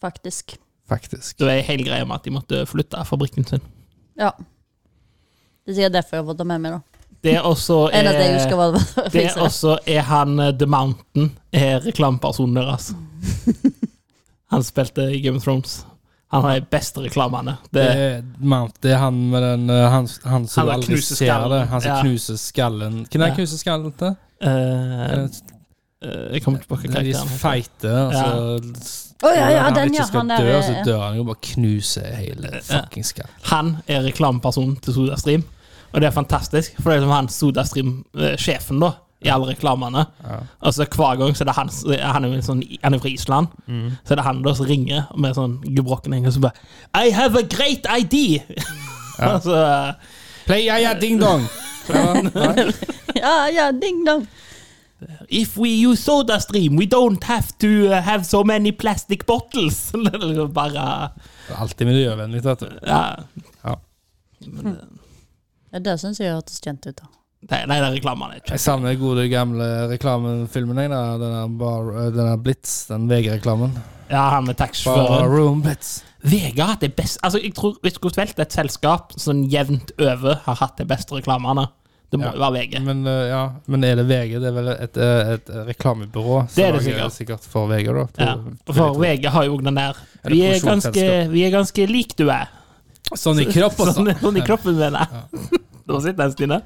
faktisk. Faktisk. Det var en hel greie med at de måtte flytte fabrikken sin. Ja. Det er sikkert derfor jeg har fått det med meg, da. Det er også Enn at jeg eh, husker hva det var fra Det er Israel. også er han eh, The Mountain, er reklamepersonen deres. Han spilte i Game of Thrones. Han har de beste reklamene. Det Det, er, Mount, det er han med den eh, Han, han som Han du der aldri knuser ser skallen. det. Han som Ja. knuser skallen. Hvem er Ja. det knuser skallen til? eh, Eh, eh, jeg kommer tilbake til De karakteren. feite. Altså, Å ja, ja, den, ja. ikke skal Han der, dø, ja, så ja. dør han jo bare knuser hele fucking skallen. Han er reklamepersonen til SodaStream, og det er fantastisk. For det er som han SodaStream-sjefen, da, i alle reklamene. Ja. Altså Hver gang så er det han s- Han er jo en sånn, han er fra Island. Mm. Så er det han da som ringer med sånn gebrokken engelsk og bare I have a great ID! altså, Play ja, ja, ding dong! ja, ja, ding dong. If we use soda stream, we don't have to uh, have so many plastic bottles. Det er liksom Bare Det er Alltid miljøvennlig. vet du. ja. Ja. Ja, det syns jeg hørtes kjent ut, da. Nei, nei, det er reklamen. Jeg Jeg savner den gode gamle reklamefilmen. jeg, da. Den der bar, eh, den der Blitz, den VG-reklamen. Ja, han med taxisjåføren. Barroom Blitz. VG har hatt det beste Altså, jeg tror Vet du hvor vel det er et selskap som jevnt over har hatt de beste reklamene. Det må Ja. jo være VG. Men, eh, ja, men er det VG? Det er vel et, eh, et reklamebyrå? Det er det som lager- sikkert for VG, da. Ja. tror- For VG har jo også den der Er det Vi er produksjonsselskap? ganske, vi er ganske lik du er. Sånn i kropp, altså. Sånn, sånn i kroppen, mener jeg. Nå sitter den, Stine.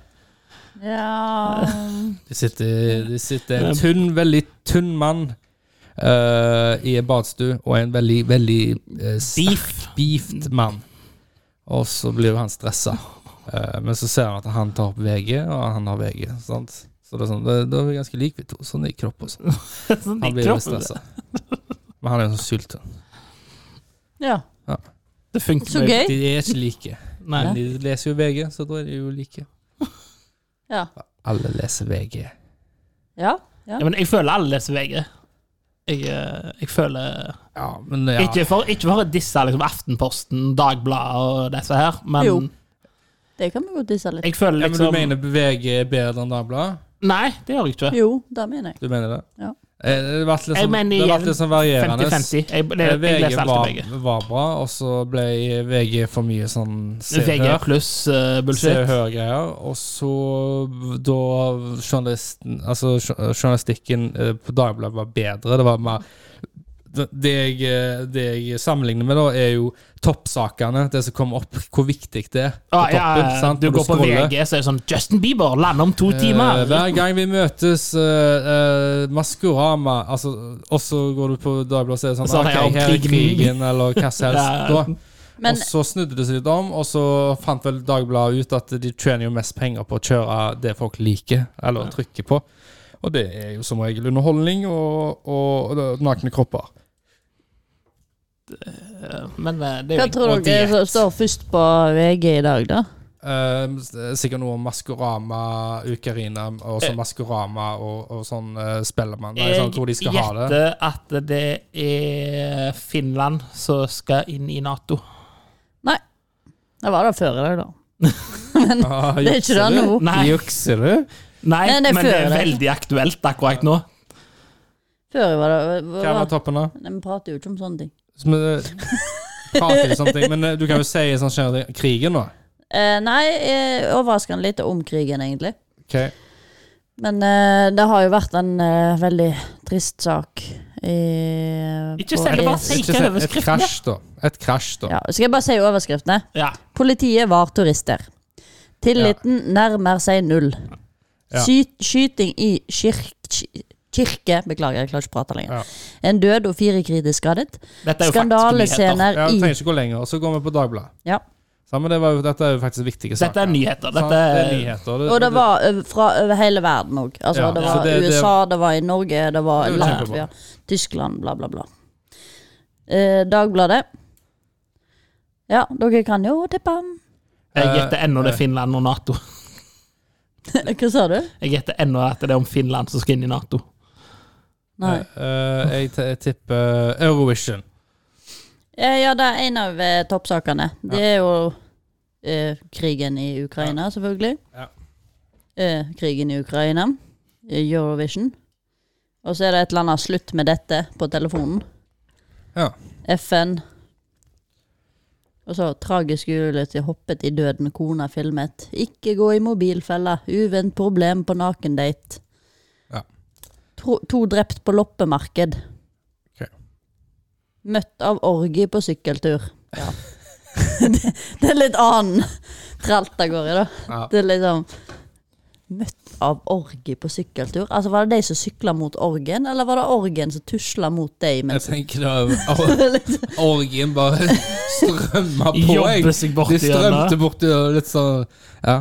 Ja De sitter, de sitter en tynn, veldig tynn mann eh, i en badstue, og en veldig, veldig eh, sterk, Beef. beefed mann. Og så blir jo han stressa. Eh, men så ser han at han tar opp VG, og han har VG. Sant? Så det er sånn, det- da er vi ganske like, vi to. Sånn i kropp og sånn. Sånn i Han blir jo kroppen. stressa. Men han er jo sånn sulten. Ja. Det funker Så jo. gøy. De er ikke like. Nei. Men de leser jo VG, så da er de jo like. Ja. Alle leser VG. Ja. Ja, men jeg føler alle leser VG. Jeg, eh, jeg føler Ja, men ja. ikke, for, ikke for å disse liksom, Aftenposten, Dagbladet og disse her, men Jo. Det kan vi godt disse litt. jeg føler ja, men du liksom mener VG er bedre enn Dagbladet? Nei, det gjør jeg ikke. Jo, det mener jeg. Du mener det? Ja. Eh, Det har vært litt Jeg sånn, mener det har vært igjen, litt sånn varierende. 50-50. Jeg, jeg, Eh, jeg, VG leser var, alltid VG. var bra, og så ble VG for mye sånn se og VG hør- pluss eh, se og bullshit. hør-greier. Og så da journalisten Altså jour- journalistikken eh, på Dagbladet var bedre, det var mer det det jeg, eh, det jeg sammenligner med, da, er jo toppsakene. Det som kommer opp, hvor viktig det er. på Ah, ja, toppen, sant? du Når går på scroller. VG, så er det sånn Justin Bieber lander om to timer! Eh, hver gang vi møtes uh, Maskorama altså, Og så går du på Dagbladet og ser sånn Så er det «Ok, om her er krigen». krigen, eller hva som helst. Ja. da. Men og så snudde det seg litt om, og så fant vel Dagbladet ut at de tjener jo mest penger på å kjøre det folk liker, eller trykker på. Og det er jo som regel underholdning og, og, og nakne kropper. Eh, Men eh, det er hva jo tror og dere diett. som står først på VG i dag, da? Eh, sikkert noe om Maskorama, Ukarina og så Eh. Maskorama og, og sånn uh, Spellemann. Nei, Jeg sånn hvor de skal ha det. gjetter at det er Finland som skal inn i Nato. Det var det før i dag, da. Ah, Det er ikke jukser det du? nå. Nei. Jukser du? Nei, Nei, det er men det før eh. er det. veldig aktuelt akkurat nå. Før var det Hva var var, toppen da? Nei, Vi prater jo ikke om sånne ting. Som, eh, Prater om sånne ting, men eh, du kan jo si sånn generelt krigen, da. Eh, nei, eh, overraskende lite om krigen, egentlig. Ok. Men eh, det har jo vært en eh, veldig trist sak i Ikke på- si det, bare i- si. Ikke hva si- er Et overskriften? krasj, da. Et krasj, da. Ja, skal jeg bare si overskriftene? Ja. Politiet var turister. Tilliten nærmer seg null. Ja. Skyt, skyting i kirk, ki- kirke Beklager, jeg klarer ikke å prate lenger. Ja. En død og fire kritisk skadet. Dette er jo faktisk nyheter. Skandalescener Ja, i Du trenger ikke gå lenger. Og så går vi på Dagbladet. ja. Så, men det var jo, dette er jo faktisk viktige saker. Dette er nyheter. Sant? Dette det er er nyheter. Og det var over- fra over hele verden òg. Altså, Ja, det så var det- det- USA, det var i Norge, det var Det er jo Latvia, Tyskland, bla, bla, bla. Eh, Dagbladet. Ja, dere kan jo tippe. Jeg gjetter ennå det er Finland og Nato. Hva sa du? Jeg gjetter ennå at det er om Finland som skal inn i Nato. Nei. Eh, jeg, t jeg tipper Eurovision. Eh, Ja, det er en av eh, toppsakene. Det er jo eh, krigen i Ukraina, selvfølgelig. Ja. Eh, krigen i Ukraina. eh, Eurovision. Og så er det et eller annet slutt med dette på telefonen. Ja. FN. Og så tragisk ulykke hoppet i døden, kona filmet. Ikke gå i mobilfella. Uvent problem på nakendate. Ja. To, to drept på loppemarked. Ok. Møtt av orgi på sykkeltur. Ja. det, det er litt annen tralt av gårde, da. Ja. Det er liksom Møtt av orgi på sykkeltur? Altså Var det de som sykla mot orgen, eller var det orgen som tusla mot deg? Jeg Mens tenker da or- Orgien bare strømmer på. jeg. Jobber seg bort De igjen. da. strømte borti og litt sånn Ja.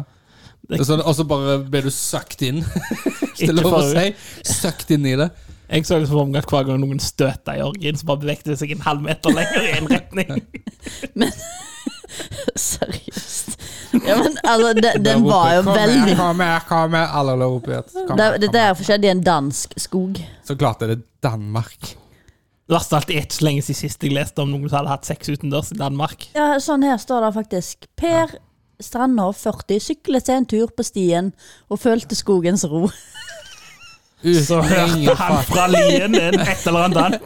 Og så, og så bare ble du søkt inn, hvis det er Ikke lov å farlig. si. Søkt inn i det. Jeg så liksom det som omgang hver gang noen støta i orgien, så bare bevegde det seg en halv meter lenger i en retning. Seriøst. Ja, men altså, de, Der den roper var jeg, jo kom veldig Her, kom her, kom her. Alle lå opp i et. Kom det, her, det kom her. der skjedde i en dansk skog. Så klart er det Danmark. Det verste av alt er ikke så lenge siden sist jeg leste om noen som hadde hatt sex utendørs i Danmark. Ja, sånn her står det faktisk. Per Strandhoff, 40, syklet seg en tur på stien og følte skogens ro. Uten Så hørte ingen han fart. fra Lien en et eller annet dans.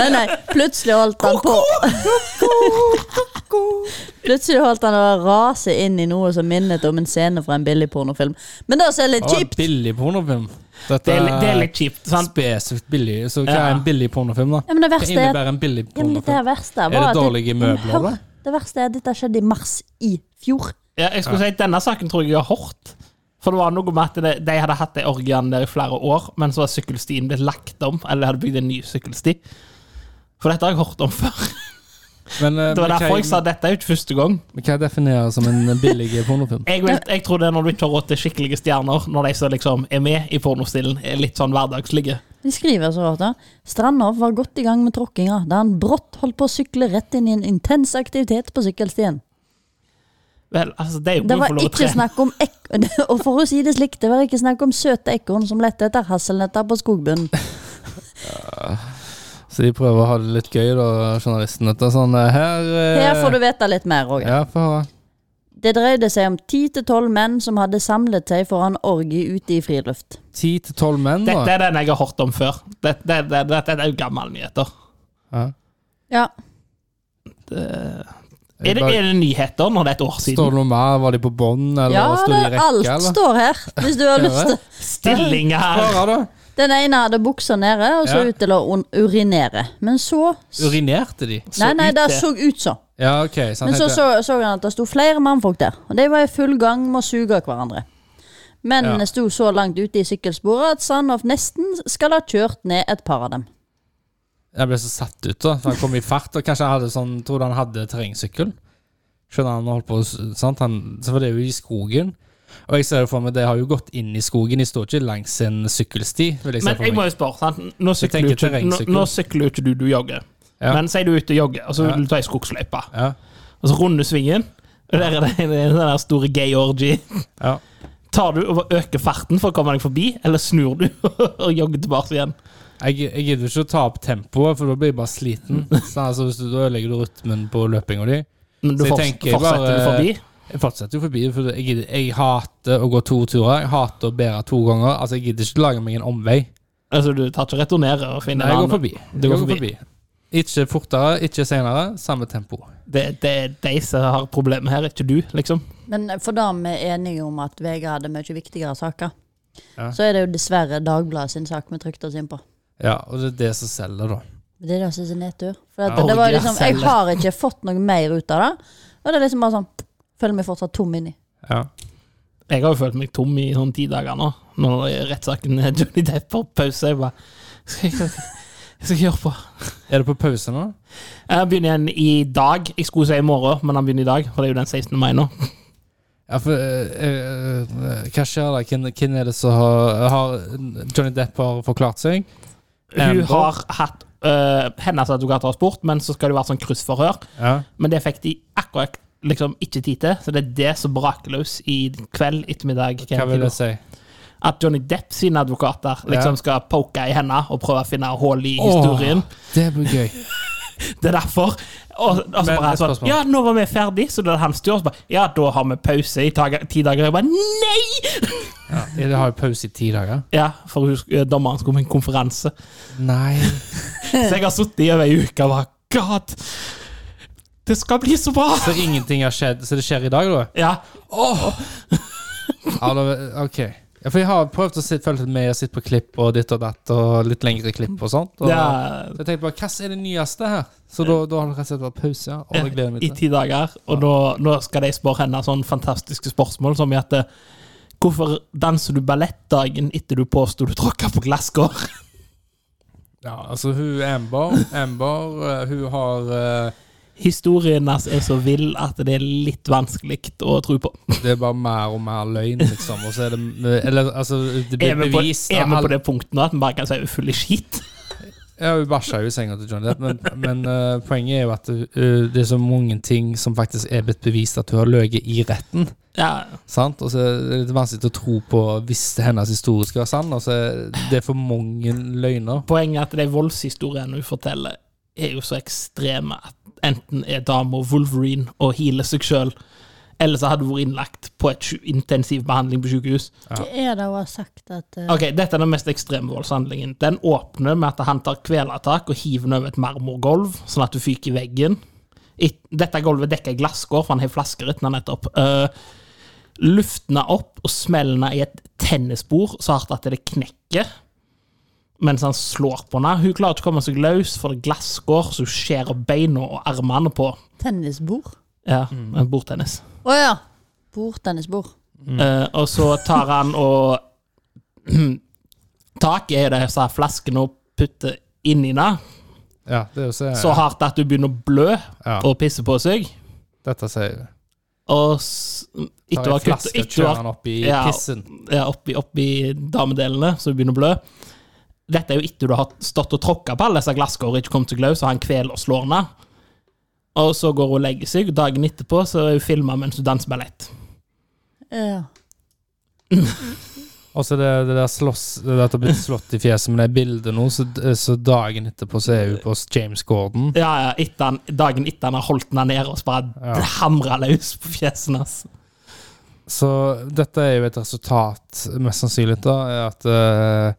Nei, nei, plutselig holdt han på Plutselig holdt han å rase inn i noe som minnet om en scene fra en billig pornofilm. Men det som er litt Å, kjipt Billig pornofilm. Dette Det er, litt- det er litt kjipt. sant? spesifikt billig. Så hva Ja. er en billig pornofilm, da? Ja, men det Hva verste er at innebærer en billig ja, men dette her pornofilm? verste Er det var at dårlige Men møbler, hør, da? Det verste er at dette skjedde i mars i fjor. Ja, jeg skulle si at Denne saken tror jeg jeg har hørt. For det var noe med at det, de hadde hatt de orgiene der i flere år, men så var sykkelstien blitt lagt om. Eller de hadde bygd en ny sykkelsti. For dette har jeg hørt om før. Men, eh, Det var men derfor hva, jeg sa at dette er jo ikke første gang. men hva defineres som en billig pornofilm? Jeg, vet, jeg tror det er når du ikke har råd til skikkelige stjerner, når de som liksom er med i pornostilen, er litt sånn hverdagslige. De skriver så rart da. Strandhoff var godt i gang med tråkkinga da han brått holdt på å sykle rett inn i en intens aktivitet på sykkelstien. Vel, altså, det er jo Det gode var for lov å ikke trene. snakk om ek Og for å si det slik, det var ikke snakk om søte ekorn som lette etter hasselnøtter på skogbunnen. Så de prøver å ha det litt gøy, da, journalisten. Dette er sånn eh, her eh, Her får du vite litt mer, Roger. Ja, få høre. Det dreide seg om ti til tolv menn som hadde samlet seg foran orgie ute i friluft. Ti til tolv menn, da. Dette er den jeg har hørt om før. Dette, det, det, dette er jo gamle nyheter. Ja. Ja. Det, Jeg er, det, bare- er det nyheter når det er et år Står siden? det noe mer? Var de på bånd, eller ja sto det, de i rekke? alt eller? står her, hvis du har lyst til. Stillinger Hva da? Den ene hadde buksa nede og så Ja. ut til å un- urinere. Men så Urinerte de? Nei, nei, ut det til- så ut sånn. Ja, ok. Så han Men så, tenkte- så så han at det sto flere mannfolk der, og de var i full gang med å suge av hverandre. Mennene Ja. sto så langt ute i sykkelsporet at Sandhoff nesten skal ha kjørt ned et par av dem. Jeg ble så satt ut, da. For han kom i fart, og kanskje han hadde sånn Trodde han hadde terrengsykkel. Skjønner han holdt på å s- sant? Han, så var det jo i skogen. Og jeg ser jo for meg det har jo gått inn i skogen, de står ikke langs en sykkelsti. Vil jeg se Men for jeg meg. må jo spørre, sant? Nå sykler tenker jo ikke, nå, terrengsykkel. nå sykler jo ikke du, du jogger. Ja. Men sier du er ute og jogger, og så Ja. vil du ta ei skogsløype. Ja, Og så runder du svingen, og der er det en en sånn der store gay orgy. ja. Tar du og øker farten for å komme deg forbi, eller snur du og jogger tilbake igjen? Jeg, jeg gidder ikke å ta opp tempoet, for da blir jeg bare sliten. Så altså, hvis du, da ødelegger du rytmen på løpinga di. Men du Så jeg forts tenker jeg fortsetter du bare- forbi? Jeg fortsetter jo forbi, for jeg, gidder, jeg hater å gå to turer. Jeg hater å bære to ganger. Altså, Jeg gidder ikke lage meg en omvei. Altså, du tar ikke returnere og finner Nei, jeg en går annen? forbi. Du Jeg går forbi. Ikke fortere, ikke senere. Samme tempo. Det, det er de som har problemet her, ikke du, liksom. Men for da vi er enige om at VG hadde mye viktigere saker, Ja. så er det jo dessverre Dagbladet sin sak vi trykte oss inn på. Ja, og det er det som selger, da. Det er det som er så nedtur. For at Ja. det var Orgier liksom, jeg selger. har ikke fått noe mer ut av det. Og det er liksom bare sånn Føler meg fortsatt tom inni. Ja. Jeg har jo følt meg tom i sånn ti dager nå, når rettssaken Johnny Depp har pause. Jeg bare skal jeg, skal jeg gjøre på? Er det på pause nå? Jeg begynner igjen i dag. Jeg skulle si i morgen, men han begynner i dag. For det er jo den 16. mai nå. Ja, for eh, eh, Hva skjer da? Hvem, hvem er det som har, har Johnny Depp har forklart seg? Hun Amber. har hatt eh, øh, Hennes advokat har spurt, men så skal det være sånn kryssforhør. Ja. Men det fikk de akkurat liksom ikke tid til, så det er det som braker løs i kveld, ettermiddag. Hva vil det si? At Johnny Depp sine advokater liksom Ja. skal poke i henne og prøve å finne hull i historien. Åh, det blir gøy. Det er derfor. Og, og så Men bare et sånn, spørsmål. ja, nå var vi ferdig, så da er det hans tur. Så bare, ja, da har vi pause i taga- ti dager. Jeg bare, nei! Ja, jeg har pause i ti dager. Ja, for hun, sk- dommeren skulle på en konferanse. Nei. Så jeg har sittet i over ei uke og bare, god! Det skal bli så bra! Så ingenting har skjedd? Så det skjer i dag, da? Ja, Ja, da ok. Ja, for jeg har prøvd å sitte, følge litt med og sitte på klipp og ditt og datt og litt lengre klipp og sånt. Og, ja Så jeg tenkte bare, hva er det nyeste her? Så da, da har det rett og slett vært pause. ja. Og det gleder jeg meg i til. ti dager. Og nå, nå skal de spørre henne sånne fantastiske spørsmål som i at eh, Hvorfor danser du ballett dagen etter du påsto du tråkka på glasskår? Ja, altså hun Amber, Amber eh, hun har eh, Historien hans er så vill at det er litt vanskelig å tro på. Det er bare mer og mer løgn, liksom. Og så er det Eller altså, det Er blir vi på, bevist. av er vi alle- på det punktet nå at vi bare kan si vi er full i skit? Ja, hun bæsja jo i senga til Johnny Depp, men, men eh, poenget er jo at eh, det er så mange ting som faktisk er blitt bevist at hun har løyet i retten. Ja, Sant? Og så er det litt vanskelig å tro på hvis hennes historie skal være sann. Og så er det for mange løgner. poenget er at de voldshistoriene hun forteller, er jo så ekstreme at enten er dama Wolverine og healer seg sjøl, eller så hadde hun vært innlagt på et sju- intensivbehandling på sykehus. Hva er det hun har sagt at eh, Ok, Dette er den mest ekstreme voldshandlingen. Den åpner med at han tar kvelertak og hiver den over et marmorgulv, sånn at du fyker i veggen. I, dette gulvet dekker glasskår, for han har flaskerytna nettopp. Uh, luftene opp og smellene i et tennisbord så hardt at det knekker. Mens han slår på henne. Hun klarer ikke å komme seg løs, for det er glasskår, så hun skjærer beina og armene på. tennisbord? Ja, med Bordtennis. Å ja! Bordtennisbord. Mm. Eh, og så tar han og Taket er det så flaskene og putter inni den, Ja, det er jo så, så hardt at du begynner å blø ja, og pisse på seg. Dette sier jeg. Og s- Tar etter en å ha kuttet flaske og etter å kjører ha- den opp i Ja. pissen. ja, oppi, oppi damedelene, så du begynner å blø. Dette er jo etter du har stått og tråkka på alle disse glasskårene, ikke kommet seg løs, og han kveler og slår henne. Og så går hun og legger seg, og dagen etterpå så er hun filma mens hun danser ballett. Ja. Og så det, det der slåss Det der at det har blitt slått i fjeset med det bildet nå, så, så dagen etterpå så er hun på hos James Gordon. Ja, ja, etter han, Dagen etter han har holdt henne nede og så bare Ja. hamra løs på fjesen hans. Så dette er jo et resultat, mest sannsynlig, da, er at eh,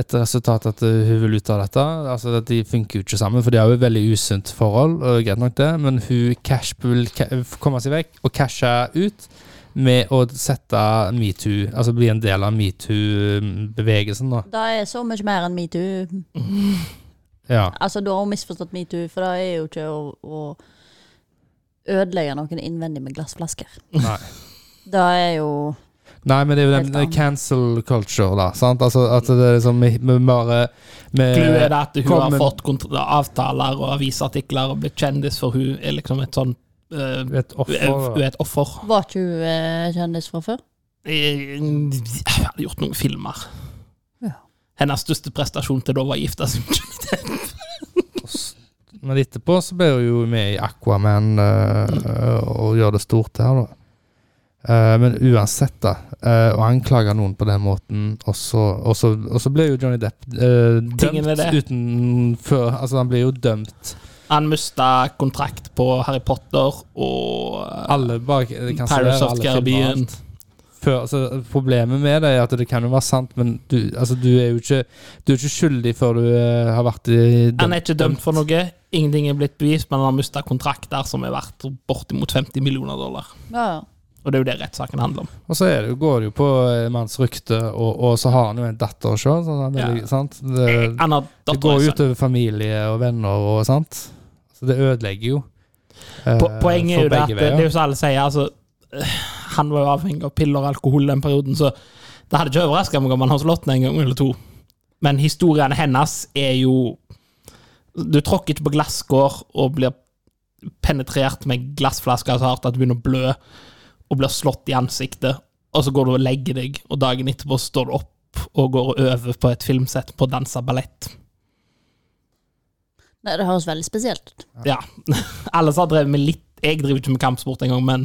et resultat at eh, hun vil ut av dette. Altså at De funker jo ikke sammen, for de har jo et veldig usunt forhold. Og greit nok det Men hun cash vil ca- komme seg vekk og cashe ut med å sette metoo Altså bli en del av metoo-bevegelsen. da Det er så mye mer enn metoo. Ja, Altså, da har hun misforstått metoo, for det er jo ikke å, å ødelegge noen innvendig med glassflasker. nei Det er jo Nei, men det er jo den Helt annet. cancel culture, da. Sant? Altså at det er liksom Vi vi bare vi- Clouet er det at hun kom har med- fått kont- avtaler og avisartikler og blitt kjendis, for hun er liksom et sånn eh, Et Hun er offer. hun er et offer. Var ikke hun eh, kjendis fra før? Jeg hadde gjort noen filmer. Ja. Hennes største prestasjon til da var å gifte seg med Johnny Depp. Men etterpå så ble hun jo med i Aquaman eh, og gjør det stort her, da. Eh, men uansett, da. eh, å anklage noen på den måten, og så, og så, og så ble jo Johnny Depp eh, Tingen er dømt det. uten før Altså, han ble jo dømt. Han mista kontrakt på Harry Potter og eh, Alle bak Pirates of Caribbean. Før, altså, problemet med det er at det kan jo være sant, men du, altså, du er jo ikke Du er ikke skyldig før du eh, har vært i Han er ikke dømt for noe. Ingenting er blitt bevist, men han har mista kontrakter som er verdt bortimot 50 millioner dollar. Ja, ja. Og det er jo det rettssaken handler om. Og så er det, jo- går det jo på eh, manns rykte, og, og så har han jo en datter sjøl. Sånn, han er Ja. veldig- sant? det, Han har Eh, det går jo datter. utover familie og venner og sant. Så det ødelegger jo. eh, Po- Poenget for er jo det at begge det veier. er jo som alle sier, altså øh, Han var jo avhengig av piller og alkohol den perioden, så det hadde ikke overraska meg om han har slått den en gang eller to. Men historiene hennes er jo Du tråkker ikke på glasskår og blir penetrert med glassflasker så hardt at du begynner å blø, og blir slått i ansiktet, og så går du og legger deg, og dagen etterpå står du opp og går og øver på et filmsett på å danse ballett. Nei, det høres veldig spesielt ut. Ja. Alle som har drevet med litt Jeg driver ikke med kampsport engang, men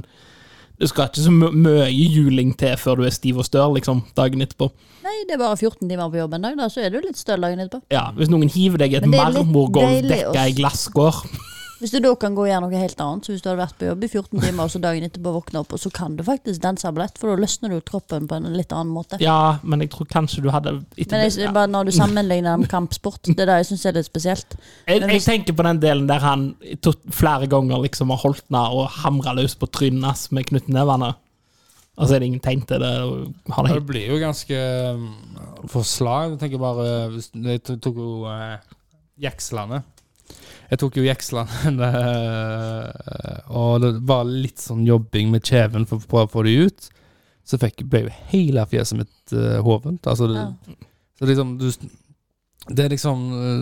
det skal ikke så mø- mye juling til før du er stiv og støl liksom, dagen etterpå. Nei, det er bare 14 timer på jobb en dag, da, så er du litt støl dagen etterpå. Ja, Hvis noen hiver deg i et Men det er litt marmorgulv deilig å- dekka i glasskår Hvis du da kan gå og gjøre noe helt annet, så hvis du hadde vært på jobb i 14 timer, og så dagen etterpå våkner opp, og så kan du faktisk danse ballett, for da løsner du jo kroppen på en litt annen måte. Ja, men jeg tror kanskje du hadde etter Men jeg, det- synes bare når du sammenligner det med kampsport, det er det jeg syns er litt spesielt. Jeg, Men jeg hvis- tenker på den delen der han to, flere ganger liksom har holdt ned og hamra løs på trynet hans med knyttnevene. Og så er det ingen tegn til det. og Har det Det helt. blir jo ganske um, forslag. Jeg tenker bare hvis- Jeg to- tok jo eh, Jekslene. Jeg tok jo Jekslene eh, Og det var litt sånn jobbing med kjeven for å prøve å få det ut. Så fikk, ble jo hele fjeset mitt eh, hovent. Altså, det, Ja. Så liksom du, Det er liksom eh,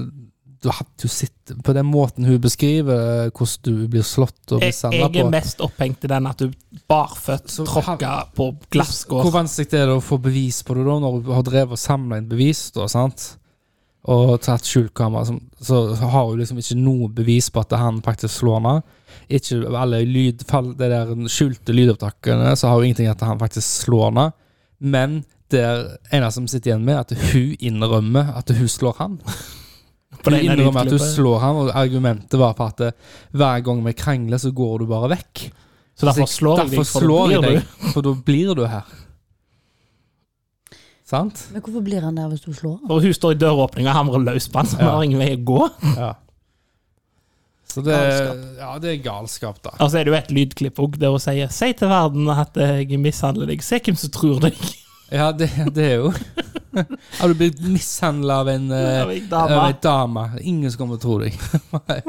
du hadde jo sett På den måten hun beskriver eh, hvordan du blir slått og Jeg, mishandla jeg på er mest opphengt i den at du barføtt Så- tråkka på Hvor glasskår. vanskelig det er det å få bevis på det da, når du har drevet og samla inn bevis, da, sant? Og tatt skjultkamera, som- så har hun liksom ikke noe bevis på at han faktisk slår henne. Ikke alle lyd, fall- det der skjulte lydopptakene, så har hun ingenting at han faktisk slår henne. Men det er ene som sitter igjen med, at hun innrømmer at hun slår han. Hun På den ene innrømmer at hun utløpet. slår han, og argumentet var på at eh, hver gang vi krangler, så går du bare vekk. Så derfor slår Altså, Derfor jeg deg, for da slår jeg blir deg, du. for da blir du her. Sant? Men hvorfor blir han der hvis du slår han? Og hun står i døråpninga og hamrer løs på sånn han, så vi Ja. har ingen vei å gå. Ja. Så det, Galskap. ja, det er galskap, da. Og så Altså, er det jo et lydklipp òg, der hun sier 'Si til verden at jeg mishandler deg'. Se hvem som tror deg. Ja, det, det er jo Har du blitt mishandla av en eh, Av en av dame. ei dame? Ingen som kommer til å tro deg.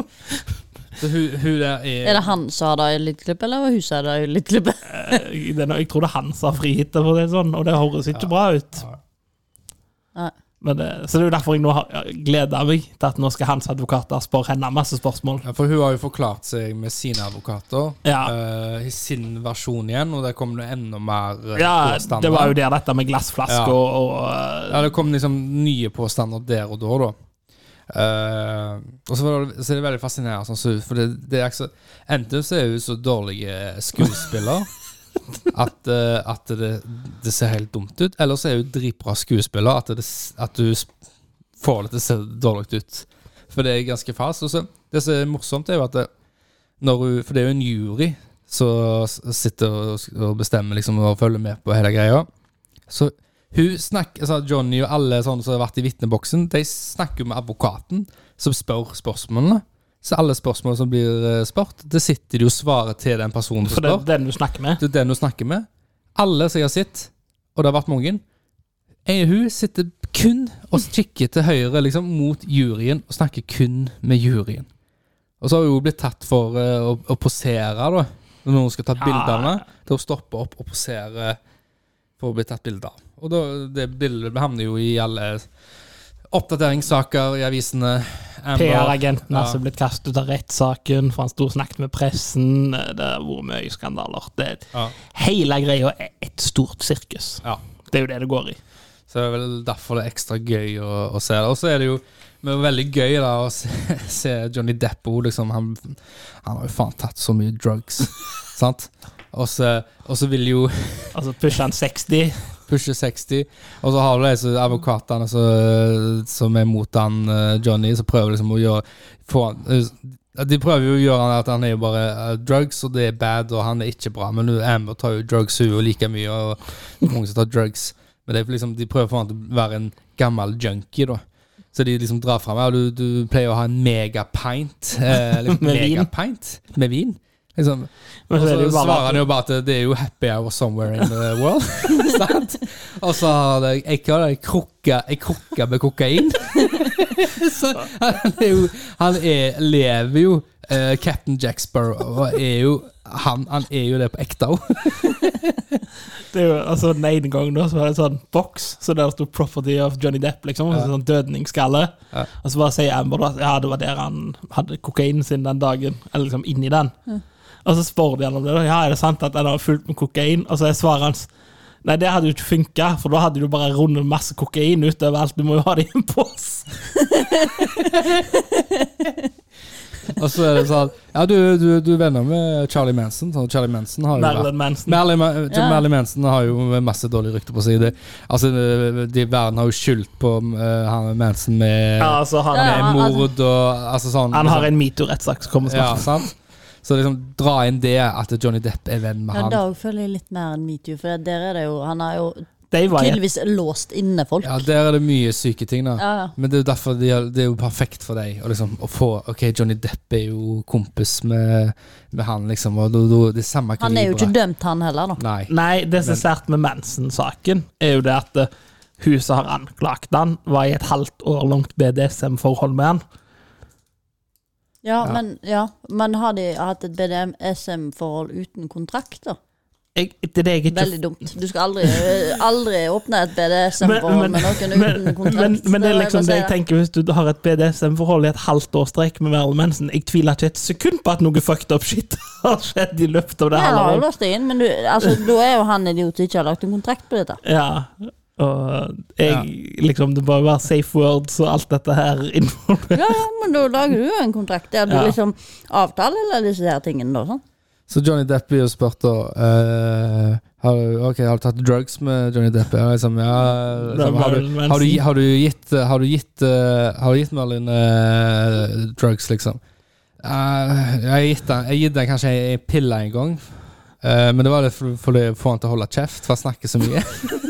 Så hun, hun der Er er det han som har det i lydklippet, eller var hun som har det i lydklippet? Eh, den- Jeg tror det er han som har frigitt det, for å si det sånn, og det høres ikke bra ut. Nei. Men det, så det er jo derfor jeg nå har, jeg gleder meg til at nå skal hans advokater spørre henne masse spørsmål. ja, For hun har jo forklart seg med sine advokater. Ja. eh, I sin versjon igjen, og der kom det enda mer eh, Ja, påstander. det var jo der dette med Ja. glassflasker og, eh, Ja, og det kom liksom nye påstander der og da, da. Eh, og så, var det, så er det veldig fascinerende, sånn, så, for det, det er ikke så Enten så er hun så dårlig eh, skuespiller at, eh, at det, det ser helt dumt ut, eller så er hun dritbra skuespiller at, det, at hun sp- får det til å se dårlig ut. For det er ganske fast. Og så, det som er morsomt, er jo at det, når hun, For det er jo en jury som s- sitter og, og bestemmer liksom, og følger med på hele greia. Så hun snakker, altså Johnny og alle sånne som har vært i vitneboksen, de snakker jo med advokaten, som spør spørsmålene. Så alle spørsmål som blir eh, spurt, det sitter de og svarer til den personen som For det spør. er den du snakker med. Det er den hun snakker med. Alle som jeg har sett, og det har vært mange, er hun sitter kun og kikker til høyre, liksom mot juryen, og snakker kun med juryen. Og så har hun jo blitt tatt for eh, å, å posere, da. Når noen skal ta bilder av henne. Da hun stopper opp og poserer for å bli tatt bilde av. Og da, det bildet havner jo i alle oppdateringssaker i avisene. Amber. PR-agenten Ja. har blitt kastet ut av rettssaken, for han sto og snakket med pressen. Eh, Det har vært mye skandaler. Det, Ja. hele greia er et stort sirkus. Ja. Det er jo det det går i. Så det er vel derfor det er ekstra gøy å, å se det. Og så er det jo men det var veldig gøy da å se, se Johnny Deppo. Liksom, han, han har jo faen tatt så mye drugs. sant? Og så, og så vil jo Altså pusher han 60 pushe 60, og så har du disse advokatene som, som er mot han eh, Johnny, som prøver liksom å gjøre få, han- eh, De prøver jo å gjøre han at han er jo bare eh, drugs, og det er bad, og han er ikke bra. Men hun- Amber tar jo drugs, hun og like mye, og mange som tar drugs. Men det er liksom, de prøver å få han til å være en gammel junkie, da. Så de liksom drar fram her, og du, du pleier å ha en megapint eh, liksom, Med vin. megapint med vin. Liksom. Men Og så er så det jo bare svarer han jo bare at det er jo happy hour somewhere in the world. Sant? Og så har jeg, jeg kaller det krukka, ei krukke med kokain. så han er jo Han er, lever jo eh, Captain Jack Sparrow og er jo han, han er jo det på ekte òg. Det er jo, altså Den ene gangen da, så var det en sånn boks, så der sto 'Property of Johnny Depp'. liksom, og så sånn dødningsskalle. Ja. Og så bare sier Amber da, at ja, det var der han hadde kokainen sin den dagen. eller liksom inni den. Og så spør de han om det. da, ja, 'Er det sant at han har fullt med kokain?' Og så er svaret hans Nei, det hadde jo ikke funka, for da hadde du bare rundet masse kokain utover alt. Du må jo ha det i en pose. Og så er det sånn Ja, du, du, du er venner med Charlie Manson. Sånn, Charlie Manson har jo vært Marilyn Manson. Marilyn, Ma- Ja. Marilyn Manson har jo masse dårlig rykte på seg. Det, altså, de Verden har jo skyldt på eh, han Manson med, Ja, altså, han, med Ja, altså- mord og altså sånn. han har en metoo-rettssak som kommer ja, snart. sant? Så liksom dra inn det at Johnny Depp er venn med Ja, han. da føler jeg litt mer enn metoo, for der er det jo Han har jo De var i tydeligvis låst inne folk. Ja, der er det mye syke ting, da. Ja, ja. Men det er jo derfor de har, det er jo perfekt for deg å liksom, å få Ok, Johnny Depp er jo kompis med, med han, liksom, og da- da- det er samme Han er jo ikke kaliberet. dømt, han heller, da. Nei. Nei, det som er sært med Manson-saken, er jo det at eh, hun som har anklagt han, var i et halvt år langt BDSM-forhold med han. Ja, Ja. Men, ja. men har de hatt et BDSM-forhold uten kontrakt, da? Jeg, det er det jeg ikke Veldig dumt. Du skal aldri, aldri åpne et BDSM-forhold Men- men- med noen men, uten kontrakt. men, men det er må liksom det bare si, jeg da. tenker hvis du har et BDSM-forhold i et halvt års strekk med Marilyn Manson. Jeg tviler ikke et sekund på at noe fucked up shit har skjedd i løpet av det Nei, han halve har jo året. låst deg inn, men du, altså, da er jo han idiot som ikke har lagt en kontrakt på dette. Ja. Og jeg, liksom, det bør være safe words og alt dette her involvert. Ja, ja, men da lager du jo en kontrakt der du Ja. liksom avtaler alle disse her tingene, da. sånn. Så Johnny Depp blir jo spurt da eh, har, du- Ok, har du tatt drugs med Johnny Depp? Ja, liksom, ja, liksom, har, du, har, du, har du gitt Har du gitt, eh, har du gitt Merlin eh, drugs, liksom? Eh, jeg har gitt den, jeg har gitt den kanskje ei ei pille en gang. Eh, men det var det for, for å få han til å holde kjeft, for han snakker så mye.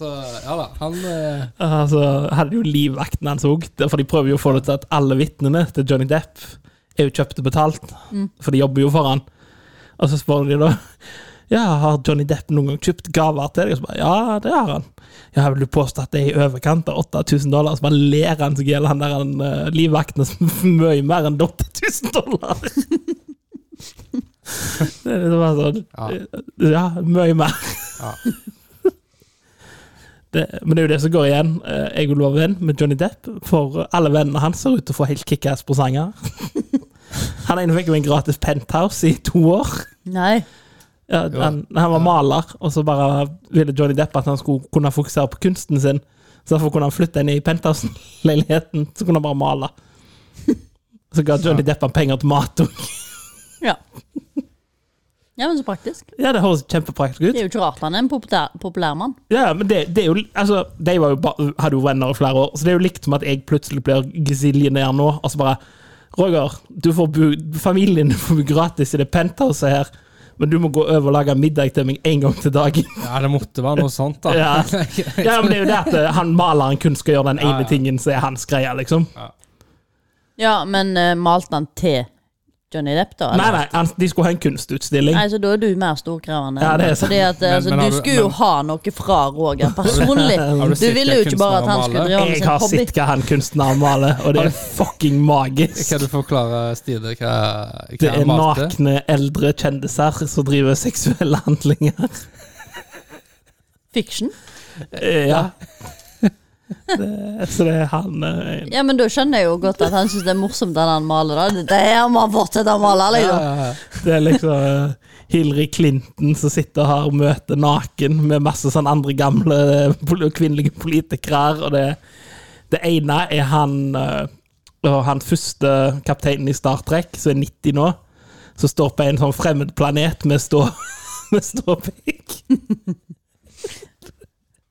så ja da, han eh, Altså, hadde jo livvakten hans òg. For de prøver jo å få det til at alle vitnene til Johnny Depp er jo kjøpt og betalt. For de jobber jo for han. Og så spør de da Ja, har Johnny Depp noen gang kjøpt gaver til deg? Og så bare Ja, det har han. Ja, vil du påstå at det er i overkant av 8000 dollar? Og så bare ler han seg i hjel, han der han, eh, livvakten som er mye mer enn 8000 dollar. det er liksom bare sånn Ja. ja, mye mer. Ja. det, men det er jo det som går igjen. eh, Jeg vil være venn med Johnny Depp, for alle vennene hans ser ut til å få helt kickass presanger. Han ene fikk jo en gratis penthouse i to år. Nei. Ja, Jo. han, han var maler, og så bare ville Johnny Depp at han skulle kunne fokusere på kunsten sin. Så derfor kunne han flytte inn i penthousen-leiligheten, så kunne han bare male. Så ga Johnny Depp han penger til mat òg. Ja. ja, men så praktisk. Ja, det høres kjempepraktisk ut. Det er jo ikke rart han er en populær, populær mann. Ja, men det, det er jo Altså, de var jo ba, hadde jo venner i flere år, så det er jo likt som at jeg plutselig blir gesiljenær nå. Og så bare Roger, du får bo, familien din får bo gratis i det penthouset her, men du må gå over og lage middag til meg en gang til dagen. Ja, det måtte være noe sånt, da. Ja. ja, men det er jo det at eh, han maleren kun skal gjøre den Ja, ene ja. tingen som er hans greie, liksom. Ja, men eh, malte han til Johnny Depp, da? Nei, nei, han, de skulle ha en kunstutstilling. Nei, så da er du mer storkrevende. Ja, det er sant. Fordi at, eh, Men- altså, men du har du- skulle jo men- ha noe fra Roger personlig. Har du Du sett ville jo ikke bare at han kunstneren skulle drive maler? med sånn Jeg sin har hobby. sett hva han kunstneren maler, og det er fucking magisk. Kan du forklare, Stine, hva, hva Det er han malte? nakne eldre kjendiser som driver seksuelle handlinger. Fiction. Eh, Ja. Det, så det er han eh, Ja, men da skjønner jeg jo godt at han syns det er morsomt at han maler, da. Det- Det her må han fortsette å male, liksom. Ja, ja, ja. Det er liksom eh, Hillary Clinton som sitter og har møte naken med masse sånn andre gamle eh, pol- kvinnelige politikere. Og det, det ene er han eh, og han første kapteinen i Star Trek, som er 90 nå, som står på en sånn fremmed planet med stå... Med ståpikk.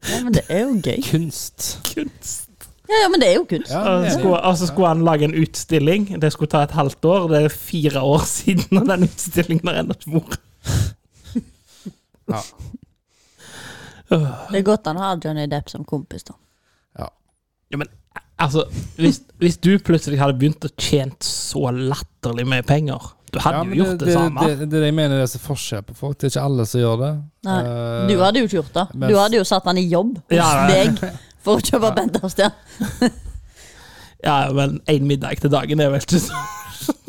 Ja, men det er jo gøy. Kunst. Kunst. Ja, ja, men det er jo kunst. Ja, Og så skulle, og så skulle han lage en utstilling. Det skulle ta et halvt år. Det er fire år siden, og den utstillingen har ennå ikke vært. Ja. Det er godt han har Johnny Depp som kompis, da. Ja, men altså, hvis, hvis du plutselig hadde begynt å tjene så latterlig mye penger Du hadde men jo gjort det, samme. Det, det, det jeg mener det er så forskjell på folk. Det er ikke alle som gjør det. Nei. Eh, Du hadde jo ikke gjort det. Du mens- hadde jo satt han i jobb hos Ja, ja. deg for å kjøpe Bent Astia. Ja, men én middag til dagen er vel ikke så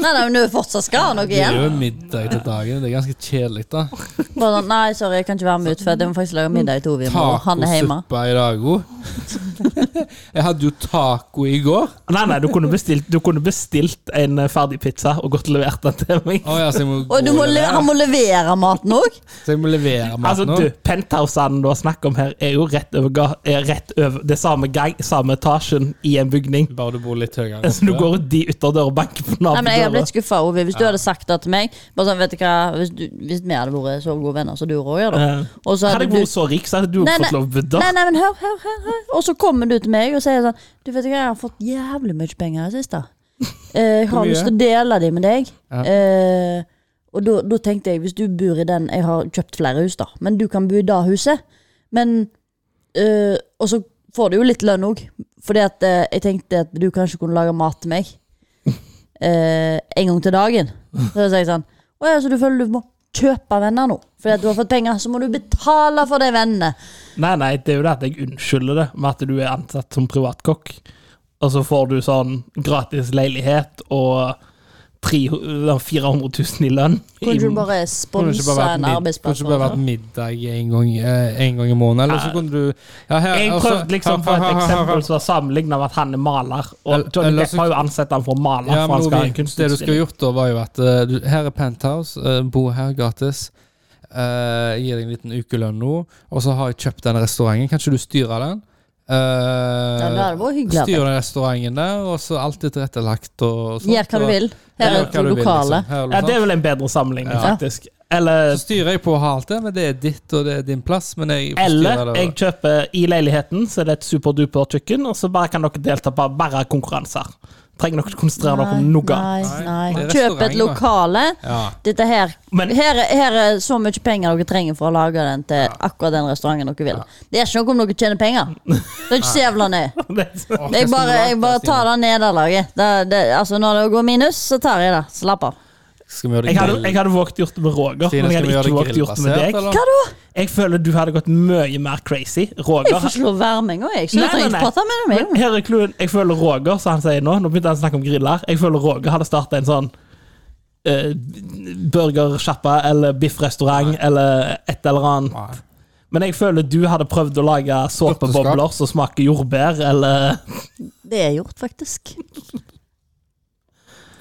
Nei, nei, men du er fortsatt skal ha noe Det er igjen. jo middag til dagen. Det er ganske kjedelig, da. Bare sånn, nei, sorry, jeg kan ikke være med ut, for jeg må faktisk lage middag i to timer. og Han er hjemme. Tacosuppa i dag òg. Jeg hadde jo taco i går. Nei, nei, du kunne bestilt, du kunne bestilt en eh, ferdig pizza og godt levert den til meg. Å ja, så jeg må, gå Og du må le han må levere maten òg? Så jeg må levere Altså, maten nå? du, Penthousene du har snakk om her, er jo rett over, ga- er rett over det samme, gang, samme etasjen i en bygning. Bare du bor litt høyere. Så du går ut de ytterdøra og banker på Nei, men jeg hadde blitt nabodøra. skuffa, Ovi, hvis du hadde sagt det til meg. Bare sånn, vet du hva, Hvis, du, hvis vi hadde vært så gode venner som du og Roger, da. Eh, Og så Hadde hadde jeg du vært så rik, så hadde du Nei, fått nei. lov å budde. Nei, nei, men hør, hør, hør, hør. Og så kommer du til meg og sier sånn Du vet ikke, jeg har fått jævlig mye penger i det siste. Eh, Jeg Hvor har mye? lyst til å dele de med deg. Ja. Eh, og da da tenkte jeg, hvis du bor i den Jeg har kjøpt flere hus, da, men du kan bo i det huset. Men eh, Og så får du jo litt lønn òg, fordi at eh, jeg tenkte at du kanskje kunne lage mat til meg. Eh, en gang til dagen. Så sier jeg sånn Å ja, så du føler du må kjøpe venner nå? Fordi at du har fått penger, så må du betale for de vennene. Nei, nei, det er jo det at jeg unnskylder det med at du er ansatt som privatkokk. Og så får du sånn gratis leilighet og tre- 400 000 i lønn. Kunne du I- bare Kunne det ikke sponsa bare vært en mid- arbeidsplass? Kunne det ikke bare vært middag en gang, eh, en gang i måneden? Eller så Ja. kunne du ja, her, Jeg altså, prøvde liksom for her, her, et her, her, her. eksempel som var sammenlignet med at han er maler. Og Eller- Johnny eller Depp så- har jo ansett han for å male, Ja, for han men skal ha en Ovi, det du skulle kunstutstilling. gjort da, var jo at eh, du, her er penthouse, eh, bo her gratis. eh, jeg gir deg en liten ukelønn nå, og så har jeg kjøpt den restauranten. Kan ikke du styre den? Eh, Ja, det hadde vært hyggelig. styre den restauranten der, og så alt er tilrettelagt og sånt. Gjør hva du og- vil. Her Gjør er det hva du vil, lokale. liksom. Her er det Ja, det sant. er vel en bedre sammenligning, Ja. faktisk. Eller, Så styrer jeg på å ha alt det, men det er ditt, og det er din plass, men jeg får styre eller det. jeg kjøper i leiligheten, så er det et superduper kjøkken, og så bare kan dere delta på bare konkurranser. Trenger dere ikke konsentrere dere om noe. nei, Nei, nei. det er Kjøp et restaurant, da. lokale. Ja. Dette her, Men- her, er- her er så mye penger dere trenger for å lage den til akkurat den restauranten dere vil. Det er ikke noe om dere tjener penger. Det er ikke så jævla ned. Det- Jeg bare, jeg bare tar det nederlaget. Det, det, altså når det går minus, så tar jeg det. Slapp av. Skal vi gjøre det Jeg hadde, jeg grill- hadde våget gjort det med Roger, Stine, men jeg skal vi hadde gjøre ikke det våget gjort det med grillbasert, deg. eller? Hva da? Jeg føler du hadde gått mye mer crazy. Roger Jeg får ikke lov å være med engang, jeg. Så du Nei, nei, trenger nei. ikke prate med Men meg. her er clouen. Jeg føler Roger, som han sier nå Nå begynte han å snakke om griller. Jeg føler Roger hadde starta en sånn uh, burgersjappa eller biffrestaurant eller et eller annet. Nei. Men jeg føler du hadde prøvd å lage såpebobler som smaker jordbær, eller Det er gjort, faktisk.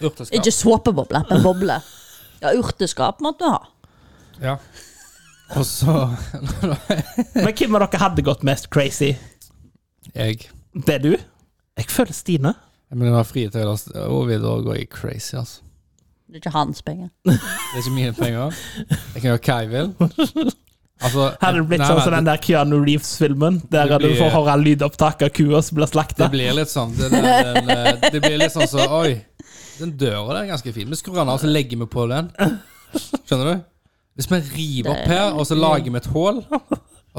Urteskap. Ikke såpeboble, men boble. Ja, urteskap måtte du ha. Ja. Og så Men hvem av dere hadde gått mest crazy? jeg. Det er du? Jeg føler Stine. Men når jeg har fritid, altså, og vi da går jeg crazy, altså. Det er ikke hans penger. Det er ikke mine penger. Jeg kan gjøre hva jeg vil. Altså, Hadde det blitt nei, sånn nei, som den der Keanu Reeves-filmen, der Det du får blir- høre lydopptak av kua som blir Det slakta? blir litt sånn det, der, den, eh, det blir litt sånn så Oi, den døra der er ganske fin. Vi skrur den av, så legger vi på den. Skjønner du? Hvis vi river opp her, og så lager vi et hull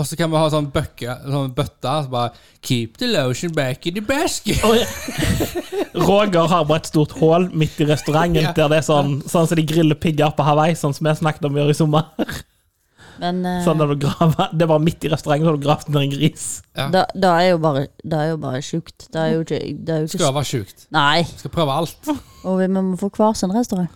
og så kan vi ha sånn bøkke, sånn bøtte så bare Keep the lotion back in the basket. Oi. Roger har bare et stort hål midt i restauranten Ja. der det er sånn Sånn som de griller pigger på Hawaii, sånn som vi snakket om å gjøre i sommer. Men eh, Sånn der du graver, Det var midt i restauranten, så har du gravd ned en gris. da, da er jo bare Det er jo bare sjukt. Det er jo ikke, det er jo Skal ikke være sjukt. Nei. Skal prøve alt. Og vi må få hver sin restaurant.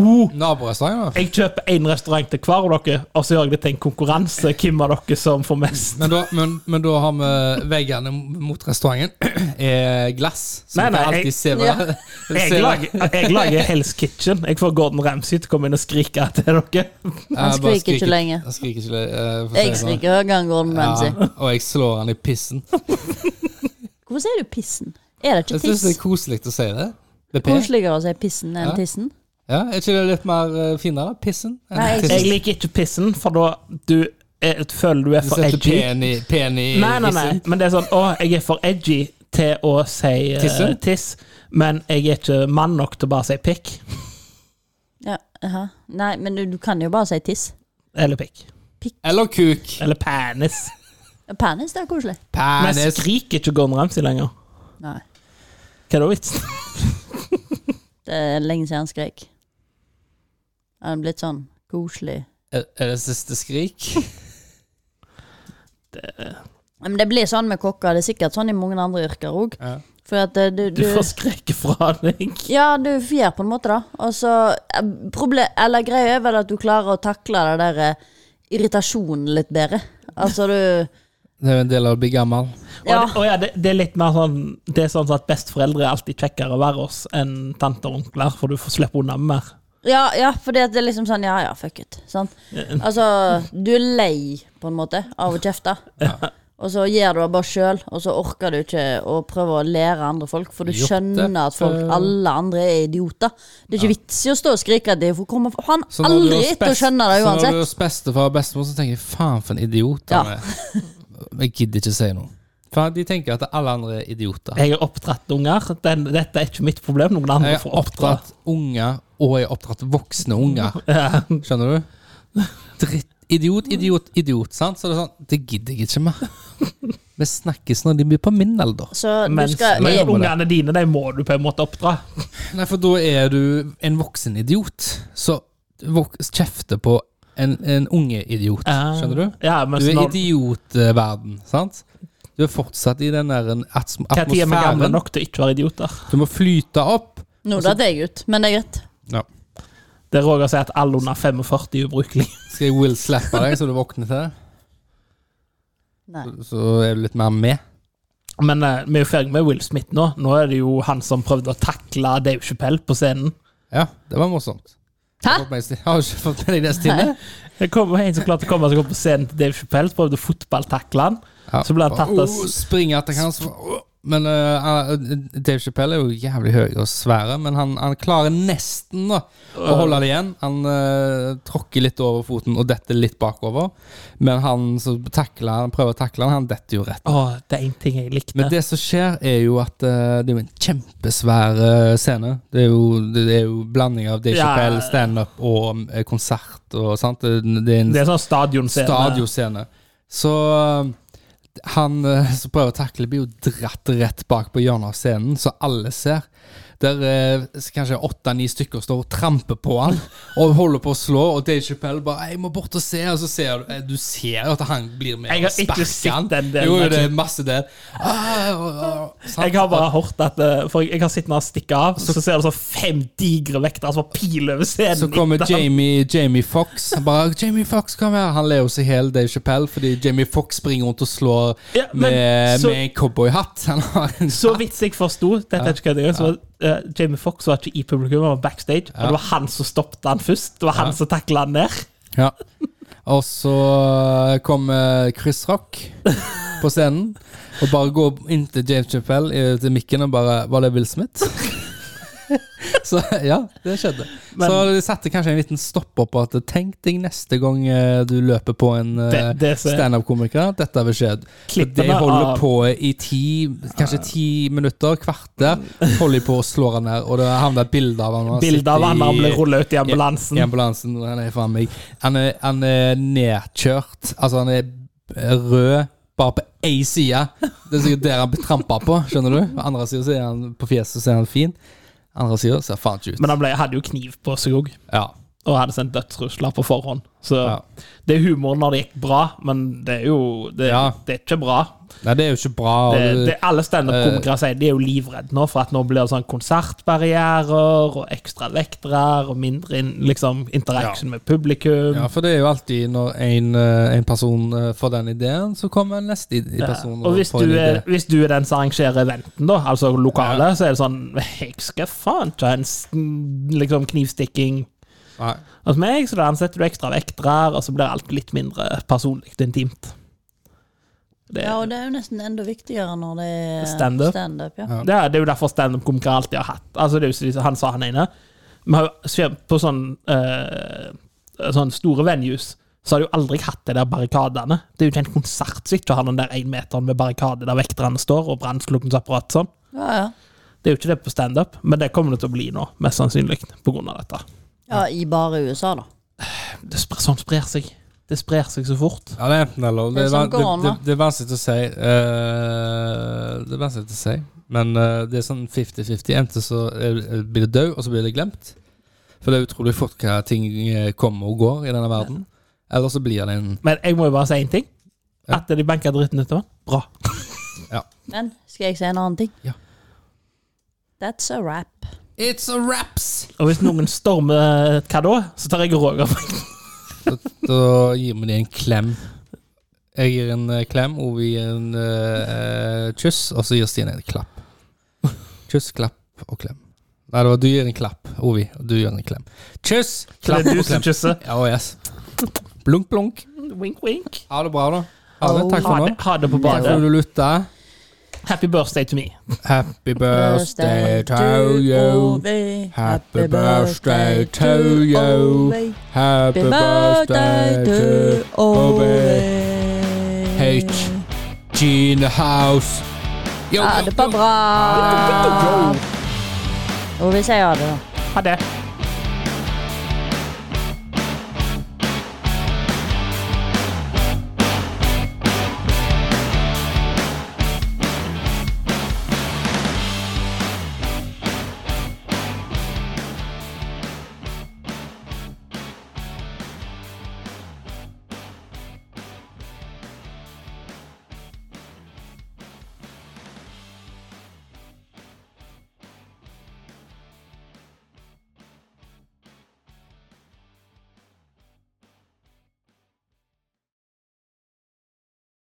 Oh, Naborestauranter. jeg kjøper én restaurant til hver av dere, og så gjør jeg det til en konkurranse. Hvem av dere som får mest? Men da, men, men da har vi veggene mot restauranten er glass. Så Nei, vi kan nei, jeg- alltid se Ja. hver- se Jeg hver- lager, jeg lager Hell's Kitchen. Jeg får Gordon Ramsay til å komme inn og skrike til dere. Ja, bare skriker ikke lenge. Han skriker ikke lenge. eh, for å si Jeg det sånn. skriker Høgan Gordon Ramsay. Ja, og jeg slår han i pissen. Hvorfor sier du pissen? Er det ikke Jeg syns det er tiss? koselig å si det. Med P. Koseligere å si pissen enn Ja. tissen? Ja, er ikke det litt mer eh, finere? Pissen? enn Nei, jeg- Jeg tissen? liker ikke pissen, for da du er, føler du er Du for setter edgy. pen i, pen i Nei, nei, nei, pissen. men det er sånn Å, jeg er for edgy til å si eh, Tisse? tiss, men jeg er ikke mann nok til å bare si pikk. Ja, aha. Nei, men du, du kan jo bare si tiss. Eller pikk. Eller kuk. Eller penis. Penis, det er koselig. Men jeg Penis. skriker ikke Gordon Ramsay lenger. Nei. Hva er da vitsen? Det er lenge siden han skrek. Han er blitt sånn koselig. Er er det siste skrik? Ja, Men det blir sånn med kokker. Det er sikkert sånn i mange andre yrker òg. Ja. For at eh, du, Du du får skrekk fra deg. Ja, du fjer på en måte, da. Og så eh, proble- Eller greia er vel at du klarer å takle det der eh, irritasjonen litt bedre. Altså du Det er jo en del av å bli gammel. Ja. Og, og ja, det, det er litt mer sånn Det er sånn at besteforeldre er alltid kjekkere å være oss enn tanter og onkler, for du får slippe unna med mer. Ja, ja, for det er liksom sånn Ja, ja, fuck it. Sant? Altså, du er lei, på en måte, av å kjefte. Og så gjør du det bare sjøl, og så orker du ikke å prøve å lære andre folk, for du Gjort skjønner det at folk, før. alle andre er idioter. Det er ikke vits i å stå og skrike at de får komme Han Så når du aldri er hos etter å best- skjønne det Så når du er uansett. hos bestefar og bestemor, så tenker jeg faen for en idiot han Ja. er. Jeg gidder ikke si noe. For de tenker at alle andre er idioter. Jeg har oppdratt unger. Den, dette er ikke mitt problem. Noen andre Jeg har får oppdra. oppdratt unger, og jeg har oppdratt voksne unger. Skjønner du? Dritt. Idiot, idiot, idiot. sant? Så det er sånn, det gidder jeg ikke mer. Vi snakkes når de blir på min alder. Så du Mens skal men jeg- ungene dine, de må du på en måte oppdra. Nei, for da er du en voksen idiot. Så vok kjefter på en, en unge idiot. Skjønner du? Ja, mens Du er Altså, når, idiotverden, sant? Du er fortsatt i den der atm- hva tid er vi gamle atmosfæren. nok til å ikke være idioter? Du må flyte opp. Nå datt jeg ut, men det er greit. Ja. Det er Roger sier at alle under 45 er ubrukelige. Skal jeg will slappe deg så du våkner til det? Nei. Så er du litt mer med. Men eh, vi er jo ferdig med Will Smith nå. Nå er det jo han som prøvde å takle Dave Chappelle på scenen. Ja, det var morsomt. Hæ? Jeg har fått meg- jeg har ikke fått med deg det stille. Det kom en som klarte å komme seg opp på scenen til Dave Chappelle, så prøvde å fotballtakle han. Ja. Så ble han tatt av Åh, springer etter hans Men eh, Dave Chappelle er jo jævlig høy og svære, men han, han klarer nesten da å holde det igjen. Han eh, tråkker litt over foten og detter litt bakover. Men han som takler, han prøver å takle han, han detter jo rett. Å, det er én ting jeg likte. Ah. Men det som skjer, er jo at eh, det er jo en kjempesvær eh, scene. Det er jo, det er jo blanding av Dave Ja. Chappelle, standup og eh, konsert og sant. Det, det er en Det er sånn stadionscene. Stadioscene. Så øh, han øh, som prøver å takle, blir jo dratt rett bak på hjørnet av scenen, så alle ser. Der øh, s- kanskje åtte-ni stykker står og tramper på han og holder på å slå, og Dave Chappelle bare 'Jeg må bort og se', og så ser du eh, Du ser jo at han blir med Jeg har og sparker ikke sett han. den delen, Jo, jo, altså. det er masse der. Ah, og- og- sant? Jeg har bare hørt at eh, For jeg har sett når han stikker av, så ser du sånn fem digre vektere som har pil over scenen. Så kommer etter han. Jamie, Jamie Fox. Han bare 'Jamie Fox, kom her!' Han ler jo seg hel Dave Chappelle fordi Jamie Fox springer rundt og slår Ja, men med, så- med en cowboyhatt. Han har en Så vidt jeg forsto, dette er ikke hva det er, så var eh, Jamie Fox var ikke i publikum, han var backstage. Og det var han som stoppet han først. Det var han som takla han ned. Ja. Og så eh, kommer Chris Rock på scenen og bare går inn til James Chappelle eh, til mikken og bare 'Var det Will Smith?' Så ja, det skjedde. Men- så det satte kanskje en liten stopper på at tenk deg neste gang eh, du løper på en Det- det ser- standup-komiker. Dette vil skje. Og De Klippene holder av- på i ti, kanskje ti minutter, kvarter. Holder de på å slå han ned, og det havner et bilde av han. og han Bilde av sitter han i- han ble rulla ut i ambulansen. i ambulansen. og Han er faen meg Han er, han er nedkjørt. Altså, han er rød bare på én side. Det er sikkert der han blir trampa på, skjønner du. På andre sida er han på fjeset så er han fin. Andre sida ser faen ikke ut. Men han ble, hadde jo kniv på seg òg, Ja. og hadde sendt dødstrusler på forhånd. Så Ja. det er humor når det gikk bra, men det er jo Det, Ja. det er ikke bra. Nei, det er jo ikke bra. og Det, du- eh, det, alle standup-komikere sier de er jo livredde nå for at nå blir det sånn konsertbarrierer og ekstra vektere og mindre in, liksom, interaction med publikum. ja, for det er jo alltid når en, eh, en person eh, får den ideen, så kommer en neste i- i Ja, person Og hvis får du, en er, idé. hvis du er den som arrangerer eventen, da, altså lokale, så er det sånn Jeg skal faen ikke ha en s- liksom, knivstikking Nei. hos meg, så da ansetter du ekstra vektere, og så blir alt litt mindre personlig og intimt. Det, Ja, og det er jo nesten enda viktigere når det er Stand-up. stand-up, ja. det, er, det er jo derfor standup-komikere alltid har hatt Altså, det er jo så- han sa han ene. Vi har jo se- på sånn eh, Sånne store venues så har de jo aldri hatt de der barrikadene. Det er jo ikke en konsert som ikke har den der énmeteren med barrikade der vekterne står, og brannslukningsapparat sånn. Ja, ja. Det er jo ikke det på standup, men det kommer det til å bli nå, mest sannsynlig, pga. dette. ja, i bare USA, da. Det spre, sånn sprer seg. Det sprer seg så fort. Ja, det er enten eller. Det Det er, er som van- det, det, korona. det er vanskelig å si. eh, det er vanskelig å si. Men eh, det er sånn 50-50. Enten så eh, blir det død, og så blir det glemt. For det er utrolig fort hva ting eh, kommer og går i denne verden. Eller så blir det en Men jeg må jo bare si én ting. Ja. At de banka dritten ut av han. Bra. Men skal jeg si en annen ting? Ja. That's a wrap. It's a wraps! Og hvis noen stormer hva da, så tar jeg Roger. Da, da gir vi dem en klem. Jeg gir en eh, klem, Ovi en eh, eh, kyss, og så gir Stine en klapp. Kyss, klapp og klem. Nei, det var du gir en klapp, Ovi, og du gjør en klem. Kyss, klapp det og er du som klem. kysser. Ja, oh, yes. Blunk, blunk. Wink, wink. Ha det bra, da. Ha det. Takk Ha for nå. det, ha det på Takk for badet. at du lytta. Happy birthday to me. Happy birthday to you. Ove. Happy birthday to you. Ove. Happy Happy birthday birthday to to Ove. H. Gina House. Yo, Ha yo, det på yo. bra. Og vi sier ha det, da. Ha det.